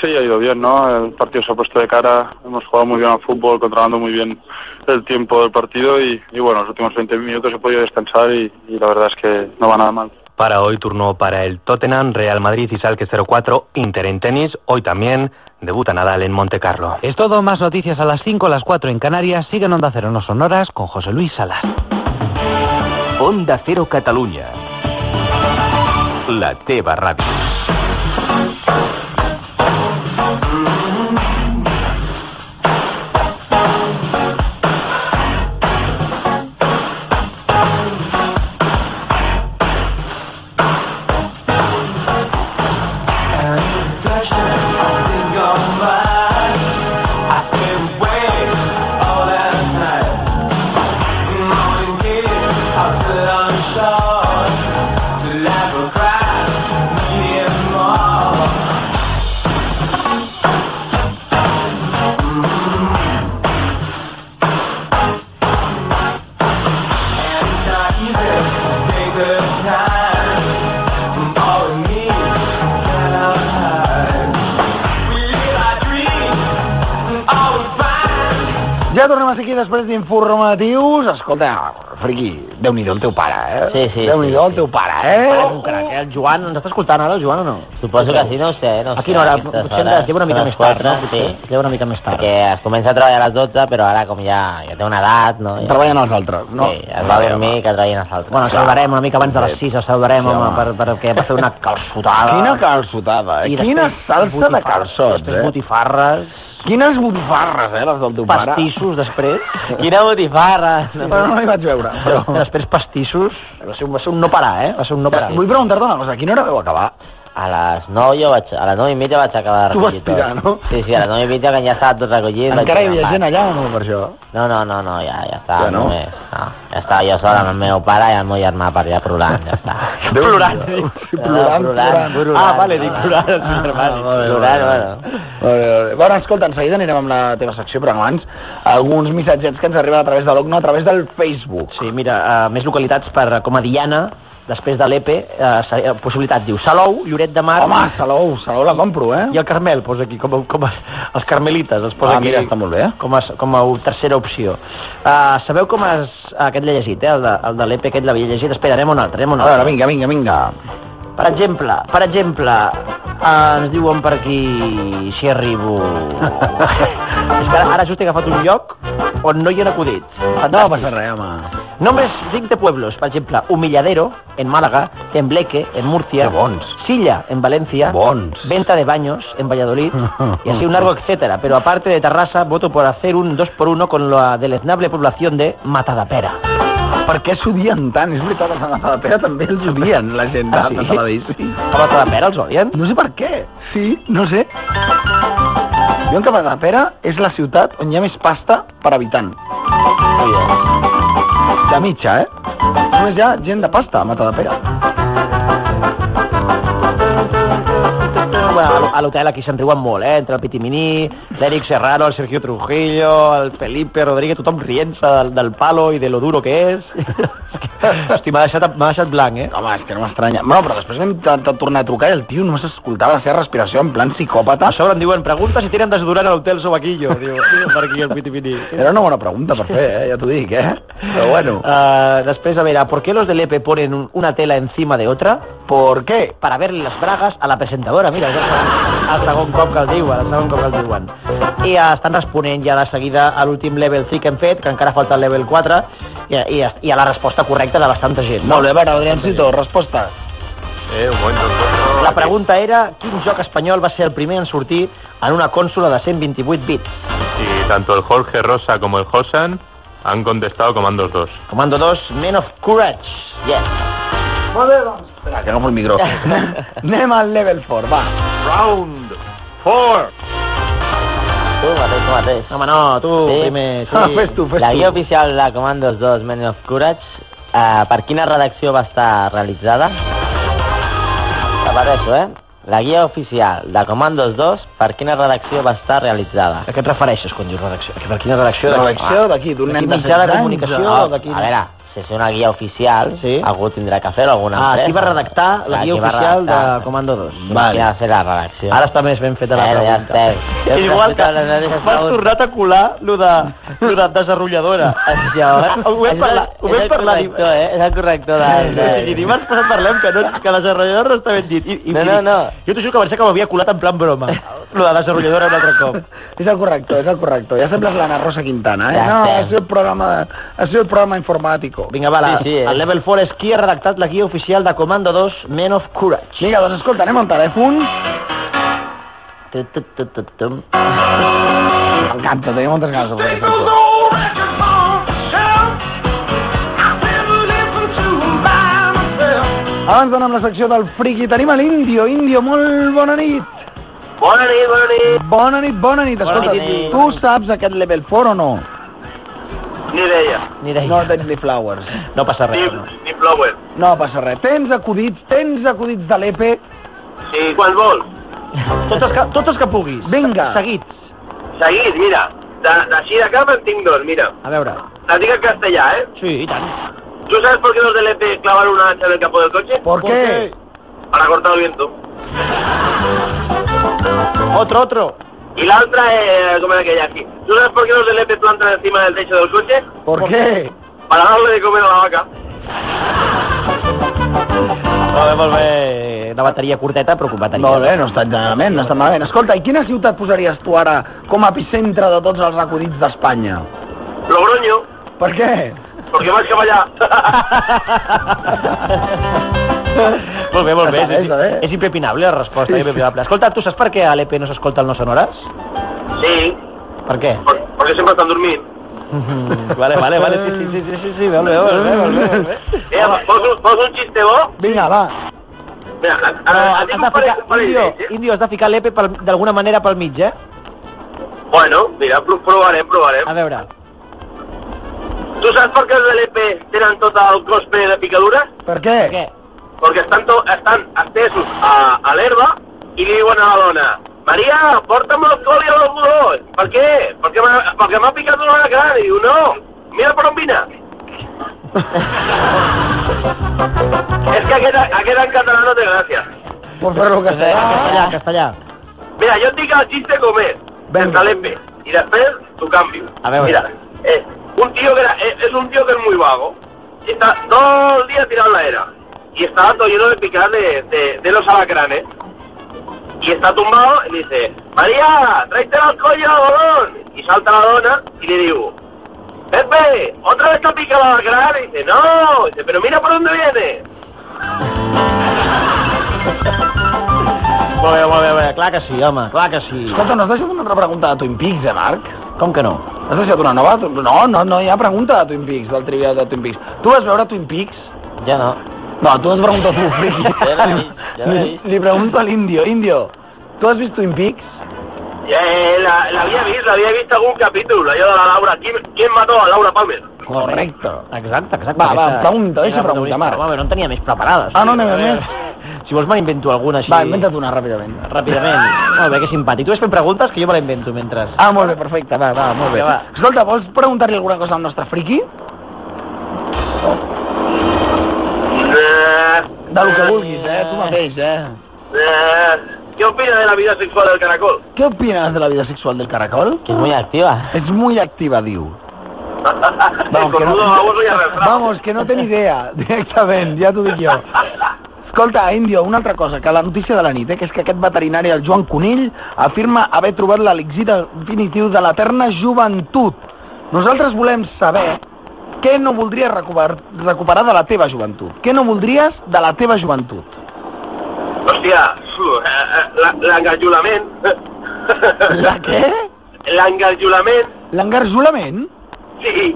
Sí, ha ido bien, ¿no? El partido se ha puesto de cara, hemos jugado muy bien al fútbol, controlando muy bien el tiempo del partido y, y bueno, los últimos 20 minutos he podido descansar y, y la verdad es que no va nada mal. Para hoy turno para el Tottenham, Real Madrid y Salque 04, Inter en tenis. Hoy también debuta Nadal en Monte Carlo. Es todo, más noticias a las 5, a las 4 en Canarias. Siguen Onda Cero en los Sonoras con José Luis Salas. Onda Cero Catalunya. La teva ràdio. Ja tornem a ser aquí després d'informatius. Escolta, friqui, Déu-n'hi-do el teu pare, eh? Sí, sí, Déu-n'hi-do sí, el teu pare, eh? Oh. Un crac, eh? El Joan, ens està escoltant ara, el Joan, o no? Suposo que sí, no ho sé. No ho A sé, quina hora? aquestes Potser hores, es lleva una mica a les més tard, quatre, no? Potser Sí. es lleva una mica més tard. Perquè es comença a treballar a les 12, però ara com ja, ja té una edat... No, ja... Treballen els altres, no? Sí, es va dormir que treballen els altres. Bueno, ens salvarem una mica abans de les 6, ens salvarem, Sí, home, home. per, perquè va fer una calçotada. Quina calçotada, eh? Quina salsa de calçots, eh? botifarres. Quines botifarres, eh, les del teu pare. Pastissos, després. Quina botifarra! Però no hi vaig veure. Però... Després pastissos. Va ser, un, va ser un no parar, eh? Va ser un no parar. Vull preguntar-te una cosa, a quina hora veu acabar? A les 9 jo vaig, a les 9 i mitja vaig acabar de Tu vas recollir tot. tirar, no? Sí, sí, a les 9 i mitja que ja estava tot recollit. doncs vaig Encara hi anar havia a gent allà o no, per això? No, no, no, no, ja, ja està. Ja no? Només, no. Ja està, jo sola amb el meu pare i el meu germà per allà plorant, ja està. Déu Plorant, No, no, plorant, plorant. Ah, vale, Ah, dic plorant, el meu germà. Ah, Plorant, bueno. Molt bé, molt bé. Bueno, escolta, en seguida anirem amb la teva secció, però abans alguns missatgets que ens arriben a través de l'OCNO, a través del Facebook. Sí, mira, uh, més localitats per, eh, com a Diana, després de l'EPE, eh, se- eh, possibilitat, diu, Salou, Lloret de Mar... Home, Salou, Salou la compro, eh? I el Carmel, posa aquí, com, a- com a, els carmelites, els posa Ah, aquí... mira, està molt bé, eh? Com a, com a tercera opció. Uh, sabeu com es... Aquest l'he llegit, eh? El de, el de l'EPE aquest l'havia llegit. Espera, anem a un altre, anem a un A altre. veure, vinga, vinga, vinga. Per exemple, per exemple, eh, ens diuen per aquí si arribo... És que ara, ara just he agafat un lloc on no hi han acudit. Ah, No passa res, home. Nombres cinc de pueblos, per exemple, Humilladero, en Málaga, Tembleque, en Murcia, Que bons. Silla, en Valencia, Venta de Baños, en Valladolid, y así un largo etcétera. Pero aparte de Tarrasa, voto por hacer un 2 por 1 con la deleznable población de Matadapera. Per què s'odien tant? És veritat, a la pera també els odien, la gent de Ah, sí? de Sabadell. Sí? A Matadapera els odien? No sé per què. Sí, no sé. Diuen que Matadepera és la ciutat on hi ha més pasta per habitant. De mitja, eh? Només hi ha gent de pasta a Matadepera. Bueno, a l'hotel aquí se'n riuen molt, eh? Entre el Pitiminí, l'Eric Serrano, el Sergio Trujillo, el Felipe Rodríguez, tothom rient-se del, del palo i de lo duro que és. Hosti, m'ha deixat, m'ha deixat blanc, eh? Home, és que no m'estranya. Bueno, però després hem intentat tornar a trucar i el tio només escoltava la seva respiració en plan psicòpata. A sobre em diuen, pregunta si tenen desodorant a l'hotel Sobaquillo. Diu, diu per aquí el Pitiminí. Era una bona pregunta per fer, eh? ja t'ho dic, eh? Però bueno. Ah, después, a ver, ¿a ¿por qué los del EPE ponen un- una tela encima de otra? eh? ¿Por qué? Para verle las bragas a la presentadora, mira. Hasta con cop que el diuen, hasta con cop que el diuen. I eh, estan responent ja de seguida a l'últim level 3 que hem fet, que encara falta el level 4, i, i, i a la resposta correcta de bastanta gent. No? Molt bé, a veure, Adriancito, resposta. Eh, un moment, La pregunta era, quin joc espanyol va ser el primer en sortir en una cònsola de 128 bits? Y tanto el Jorge Rosa como el Josan han contestado comandos 2. Comando 2, Men of Courage. Yes. Molt bé, doncs. Espera, que agafo el micro. Anem al level 4, va. Round 4. Tu mateix, tu mateix. Home, no, tu primer, sí. Ah, la guia oficial de Commandos 2, Men of Courage, eh, per quina redacció va estar realitzada? Repeteixo, eh? La guia oficial de Commandos 2, per quina redacció va estar realitzada? A què et refereixes quan dius redacció? Per quina redacció? Redacció d'aquí, d'un nen de mitjà de setze anys, comunicació ah, o d'aquí... A veure, si és una guia oficial, sí. algú tindrà que fer-ho, alguna Ah, empresa. Ah, qui va redactar la guia qui va oficial de redactar. Comando 2? Vale. Qui ha de fer la redacció. Ara està més ben feta la Eh, ja pregunta. estem. Ja estem Igual que feta la pregunta. m'has tornat a colar lo de, lo de desenrotlladora. Ho Això, és vam el- parlar... Ho és vam el parlar corrector, eh? És el corrector de... I dimarts passat parlem que, no, que la desenrotlladora no està ben dit. I, i, No, no, no. Jo t'ho juro que pensava que m'havia colat en plan broma. Lo de la desenrotlladora un altre cop. És el correcto, és el correcto. Ja sembles l'Anna Rosa Quintana, eh? Ja no, estem. ha sido el programa, ha sido el programa informático. Vinga, va, la, Sí, sí, eh? el level 4 és qui ha redactat la guia oficial de Comando 2, Men of Courage. Vinga, doncs escolta, anem al telèfon. Tu, tu, tu, tu, tu. M'encanta, tenia moltes ganes de poder fer això. Abans d'anar amb la secció del friki, tenim a l'Indio. Indio, molt bona nit. Bona nit, bona nit. Bona nit, bona nit. Bona Escolta, nit. tu saps aquest level 4 o no? Mireia. No tens ni flowers. No passa Ni, res. ni Flower. No passa res. Tens acudits, tens acudits de l'EPE. Sí, quan vol. Tots els que, tots els que puguis. Vinga. Seguits. Seguit, mira. De- D'així de, cap en tinc dos, mira. A veure. La dic en castellà, eh? Sí, i tant. ¿Tú sabes por qué los del EP clavaron una hacha en el capó del coche? ¿Por qué? Para cortar el viento. Otro, otro. Y la otra es... ¿Cómo era aquella? Sí. ¿Tú sabes por qué los del EP plantan encima del techo del coche? ¿Por qué? Para darle de comer a la vaca. Molt bé, molt bé. Una bateria curteta, però com bateria. Molt bé, no està malament, no està malament. Escolta, i quina ciutat posaries tu ara com a epicentre de tots els acudits d'Espanya? Logroño, Per què? porque vas para allá. Molt bé, molt bé. Està bé, És, és, és impepinable la resposta, Sí. sí. impepinable. Escolta, tu saps per què a l'EP no s'escolta el No Son Hores? sí, Per què? porque siempre están durmiendo. vale, vale, vale, sí, sí, sí, sí, sí, sí molt bé, molt bé, molt bé, molt bé. Eh, ¿vos, un- vos un chiste vos? Vinga, va. Mira, a, No, a, Eh, a, has de ti un pare- ficar, un pare Indio, d'ells, eh? Indio, has de ficar l'EP pel- d'alguna manera pel mig, eh? Bueno, mira, pro- probarem, probarem. A veure. Tu saps per què els de l'EP tenen tot el cos ple de picadures? Per què? Per què? Perquè estan, to, estan estesos a, a l'herba i li diuen a la dona Maria, porta'm el col i el dolor. Per què? Perquè m'ha- perquè m'ha picat una cara. I diu, no, mira per on vine. És que aquest, aquest en català no té gràcia. Pues Doncs per lo que sé. Eh, Castellà, castellà. Mira, jo et dic el xiste com és, sense l'EP, i després t'ho canvio. A veure. Mira, eh, un tío que era, eh, es un tío que es muy vago, y está todo el día tirado en la era, y está todo lleno de picar de, de, de los alacranes, y está tumbado y le dice, María, tráete el alcohol y el algodón, y salta la dona y le digo, Pepe, otra vez te ha picado el alacrán, y dice, no, y dice, pero mira por dónde viene. Molt bé, molt bé, molt bé, clar que sí, home, clar que sí. Escolta, no has deixat una altra pregunta de Twin Peaks, eh, Marc? Com que no? Has deixat una nova? No, no, no hi ha pregunta de Twin Peaks, del trivia de Twin Peaks. Tu vas veure Twin Peaks? Ja no. No, tu has preguntat tu, friki. Ja l'he vist, ja l'he Li- Li pregunto a l'Indio. Indio, tu has vist Twin Peaks? Eh, la, la había visto, la había visto algún capítulo, yo de la Laura, ¿quién, quién mató a Laura Palmer? Correcte. Exacte, exacte. Va, va, Aquesta- pregunta, deixa aquesta pregunta, Marc. Home, no en tenia més preparades. Ah, no, no, A no, veure, no. Si vols me n'invento alguna així. Va, inventa't una ràpidament. Ràpidament. Molt bé, que simpàtic. Tu vas fent preguntes que jo me la invento mentre... Ah, molt bé, perfecte, va, va, molt bé. Vinga, va. Escolta, vols preguntar-li alguna cosa al nostre friki? De lo que vulguis, eh, tu mateix, eh. Eh, ¿Qué opina de la vida sexual del caracol? Eh. Què opines de la vida sexual del caracol? Que és muy activa. És muy activa, diu. El cornudo baboso y arrastrado. Vamos, que no té ni idea, directament, ja t'ho dic jo. Escolta, Indio, una altra cosa, que la notícia de la nit, eh, que és que aquest veterinari, el Joan Conill, afirma haver trobat l'elixir definitiu de l'eterna joventut. Nosaltres volem saber què no voldries recuperar, recuperar de la teva joventut. Què no voldries de la teva joventut? Hostia, eh, l'engajulament. La què? L'engajulament, L'engarjolament? sí.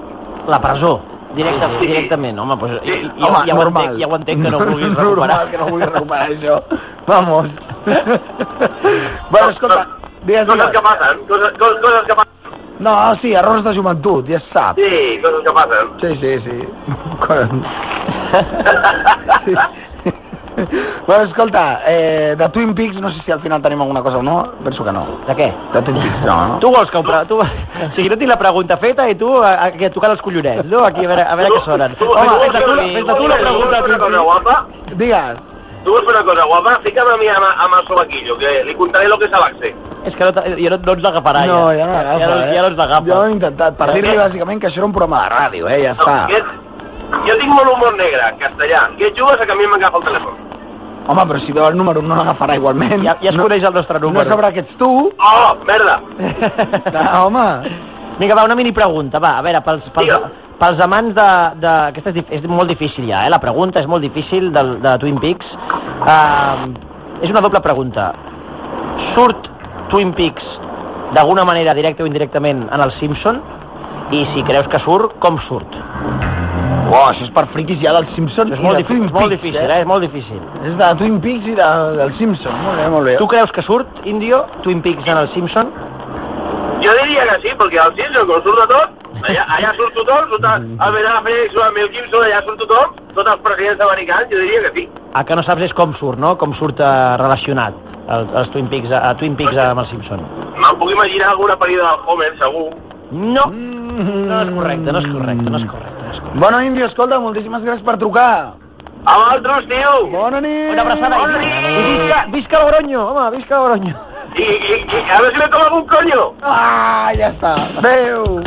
La presó. Directa, Sí. Directament, home, pues, Sí, ja, home, ja, ho normal. entenc, ja ho entenc que no vulguis Normal recuperar. que no vulguis recuperar això. Vamos. bueno, escolta, digues, Coses que digues. passen, coses, coses, coses que passen. No, sí, errors de joventut, ja es sap. Sí, coses que passen. Sí, sí, sí. Quan- Sí. bueno, escolta, eh, de Twin Peaks no sé si al final tenim alguna cosa o no, penso que no. De què? De Twin Peaks, no, no? Tu vols que ho... Pre... Tu... O sigui, no tinc la pregunta feta i tu a, a, a tocar els collonets, no? Aquí a veure, a veure què sonen. Home, fes de tu, la- fes de tu la pregunta. Una cosa guapa, Digues. tú vols fer una cosa guapa, fica'm a mi a, ma- a Maso Vaquillo, que li contaré lo que és Alaxe. És que no, te- ja no, no ens l'agafarà, No, ja no Ja, l'agafa, no- eh? ja no ens l'agafa. Jo he intentat per Ja, dir-li ja. bàsicament que això era un programa de ràdio, eh, ja està. Aquest, jo tinc molt humor negre, castellà. Què et jugues a que a mi m'agafa el telèfon? Home, però si veu el número no l'agafarà igualment. Ja, ja es no, coneix el nostre número. No sabrà que ets tu. Oh, merda! Ah, No, home. Vinga, va, una mini pregunta, va, a veure, pels, pels, pels amants de... de aquesta és, dif- és molt difícil ja, eh? La pregunta és molt difícil de, de Twin Peaks. Uh, és una doble pregunta. Surt Twin Peaks d'alguna manera, directa o indirectament, en el Simpson? I si creus que surt, com surt? Uau, això és per friquis ja dels Simpsons És molt i de difícil, Twin és molt Peaks, difícil, eh? És molt difícil. És de Twin Peaks i de, del Simpson. Molt bé, molt bé. Tu creus que surt, Indio, Twin Peaks en el Simpson? Jo diria que sí, perquè al Simpson, com surt de tot, allà, allà surt tothom, surt el Ben Affleck, surt el Mel Gibson, allà surt tothom, tots els presidents americans, jo diria que sí. El que no saps és com surt, no? Com surt eh, relacionat els, els Twin Peaks, a, a Twin Peaks amb el Simpson. Me'n puc imaginar alguna parida del Homer, segur. No. No és correcte, no és correcte, no és correcte. Bueno, Indio, escolta, moltíssimes gràcies per trucar. A vosaltres, tio! Bona nit! Una abraçada. Bona i- nit! i visca, visca el Groño, home, visca el Groño. I, i, i a veure si me tomo algun coño! Ah, ja està. Adéu!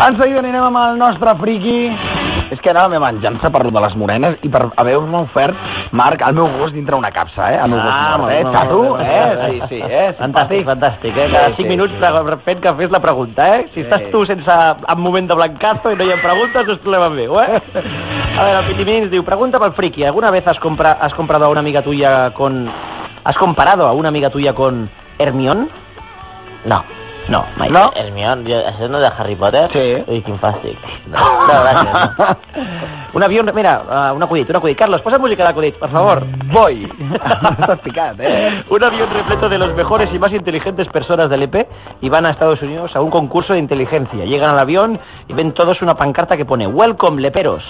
En seguida anirem amb el nostre friki. És que anava a venjança per lo de les morenes i per haver-me ofert, Marc, el meu gos dintre una capsa, eh? El meu Ah, gos molt mort, eh? bé, Xato, molt bé, molt bé. eh? Sí, sí, eh? Fantàstic, fantàstic, eh? Cada Sí, 5 sí, minuts pre- fent que fes la pregunta, eh? Si estàs tu sense en moment de blancazo i no hi ha preguntes, no és problema meu, eh? A veure, el Pitimini ens diu, pregunta pel friki, ¿alguna vez has, compra has comprado a una amiga tuya con... has comparado a una amiga tuya con Hermión? No. No, mai. No? Hermione, jo, això no de Harry Potter? Sí. Ui, quin fàstic. No, no gràcies. No. Un avió, mira, eh, un acudit, un acudit. Carlos, posa música de acudit, por favor. Voy. Estás picado, ¿eh? Un avión repleto de los mejores y más inteligentes personas del EP y van a Estados Unidos a un concurso de inteligencia. Llegan al avión y ven todos una pancarta que pone Welcome leperos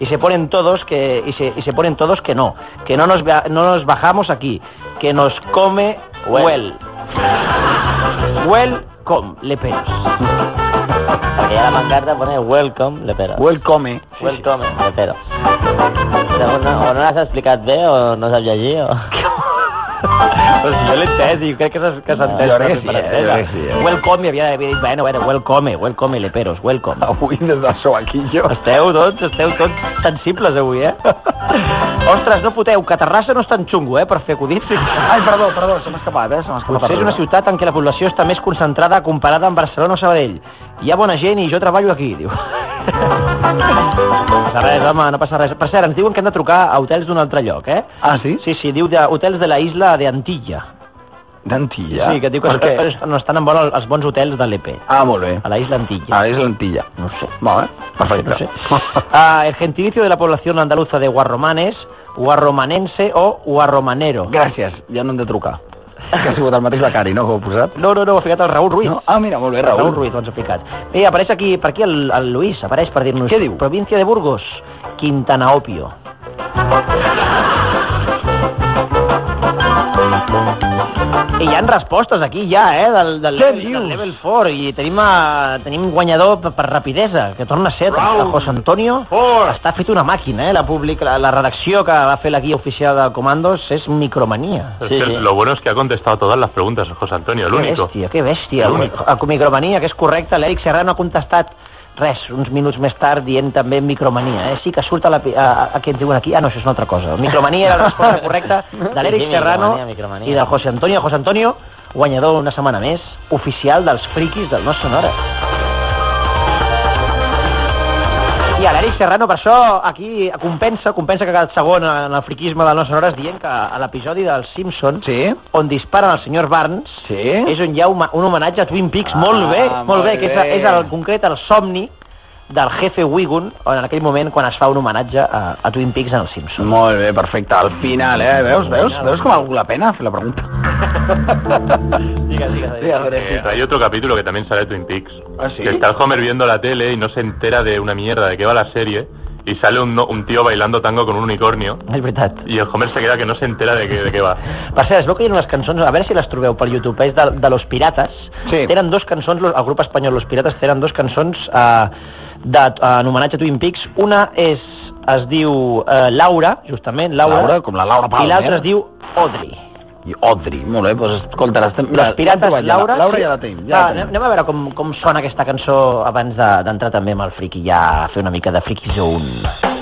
y se ponen todos que y se, y se ponen todos que no, que no nos ba- no nos bajamos aquí, que nos come Well. well. Welcome leperos. Aquí a la pancarta pone Welcome, Lepero. Welcome. Welcome, Lepero. No, no, o no l'has explicat bé o no saps llegir o... Però si jo l'he entès i crec que s'ha que s'ha entès. Jo crec que sí, per eh, entesa. jo crec que sí, eh. Welcome, havia, havia dit, bueno, bueno, welcome, welcome, leperos, welcome. Avui des de Soaquillo. Esteu tots, esteu tots sensibles avui, eh? Ostres, no poteu, que Terrassa no és tan xungo, eh, per fer acudits. Ai, perdó, perdó, se m'ha escapat, eh? Se m'ha escapat. Potser és una ciutat en què la població està més concentrada comparada amb Barcelona o Sabadell. Hi ha bona gent i jo treballo aquí, diu. No passa res, home, no passa res. Per cert, ens diuen que hem de trucar a hotels d'un altre lloc, eh? Ah, sí? Sí, sí, diu de hotels de la isla de Antilla. D'Antilla? Sí, que diu que Per què? es- no estan en bon els bons hotels de l'EP. Ah, molt bé. A la isla Antilla. A la isla Antilla. Ah, No sé. eh? Vale, perfecte. No sé. Ah, el gentilicio de la población andaluza de guarromanes, guarromanense o guarromanero. Gràcies, ja no hem de trucar. Que ha sigut el mateix becari, no, que ho heu posat? No, no, no, ha ficat el Raül Ruiz. No? Ah, mira, molt bé, Raúl, Raül. Ruiz, doncs ha picat. Eh, apareix aquí, per aquí el, el Luis, apareix per dir-nos... Què diu? Província de Burgos, Quintanaopio. hi ha respostes aquí ja, eh, del, del, Què level, del dius? level 4, i tenim, a, tenim guanyador per, per rapidesa, que torna a ser el José Antonio. Està fet una màquina, eh, la, public, la, la redacció que va fer la guia oficial de comandos és micromania. Es que Lo bueno es que ha contestado todas las preguntas, José Antonio, el Qué único. bèstia, que bèstia. El único. A Micromania, que és correcte, l'Eric Serrano ha contestat res, uns minuts més tard dient també Micromania. Eh? Sí que surt a, la, pi- a, a, a què ens diuen aquí. Ah, no, això és una altra cosa. Micromania era la resposta correcta de l'Eric Sí, sí, Serrano Micromania, Micromania. i del José Antonio. José Antonio, guanyador una setmana més, oficial dels friquis del No Sonora. I a l'Eric Serrano, per això, aquí compensa, compensa que ha quedat segon en el friquisme del No Sonores dient que a l'episodi dels Simpsons, sí. on disparen el senyor Barnes, sí. és on hi ha un, ma- un homenatge a Twin Peaks. Eh? Ah, molt bé, molt, molt bé, que és, bé. és el, en concret el somni del jefe Wigun en aquell moment quan es fa un homenatge a, a Twin Peaks en els Simpsons. Molt bé, perfecte. Al final, eh? Veus, veus? Veus com ha valgut la pena fer la pregunta? digues, digues. Sí, a veure Eh, hay otro capítulo que también sale de Twin Peaks. ¿Ah, sí? Que está el Homer viendo la tele y no se entera de una mierda de qué va la serie. Y sale un, no- un tío bailando tango con un unicornio. És veritat. Y el Homer se queda que no se entera de qué, de qué va. Per cert, es veu que hi ha unes cançons, a veure si les trobeu per YouTube, és de, de Los Pirates. Sí. Tenen dos cançons, los- el grup espanyol Los Pirates tenen dos cançons eh, de, eh, en homenatge a Twin Peaks. Una és, es diu eh, Laura, justament, Laura. Laura, com la Laura Palmer. I l'altra es diu Audrey. I Odri, molt bé, doncs escolta, l'estem... Los Pirates, l'hem trobat ja, Laura... la Laura sí. ja la tenim, Va, ja la anem, tenim. anem a veure com, com sona aquesta cançó abans de- d'entrar també amb el friki, ja a fer una mica de friki zone.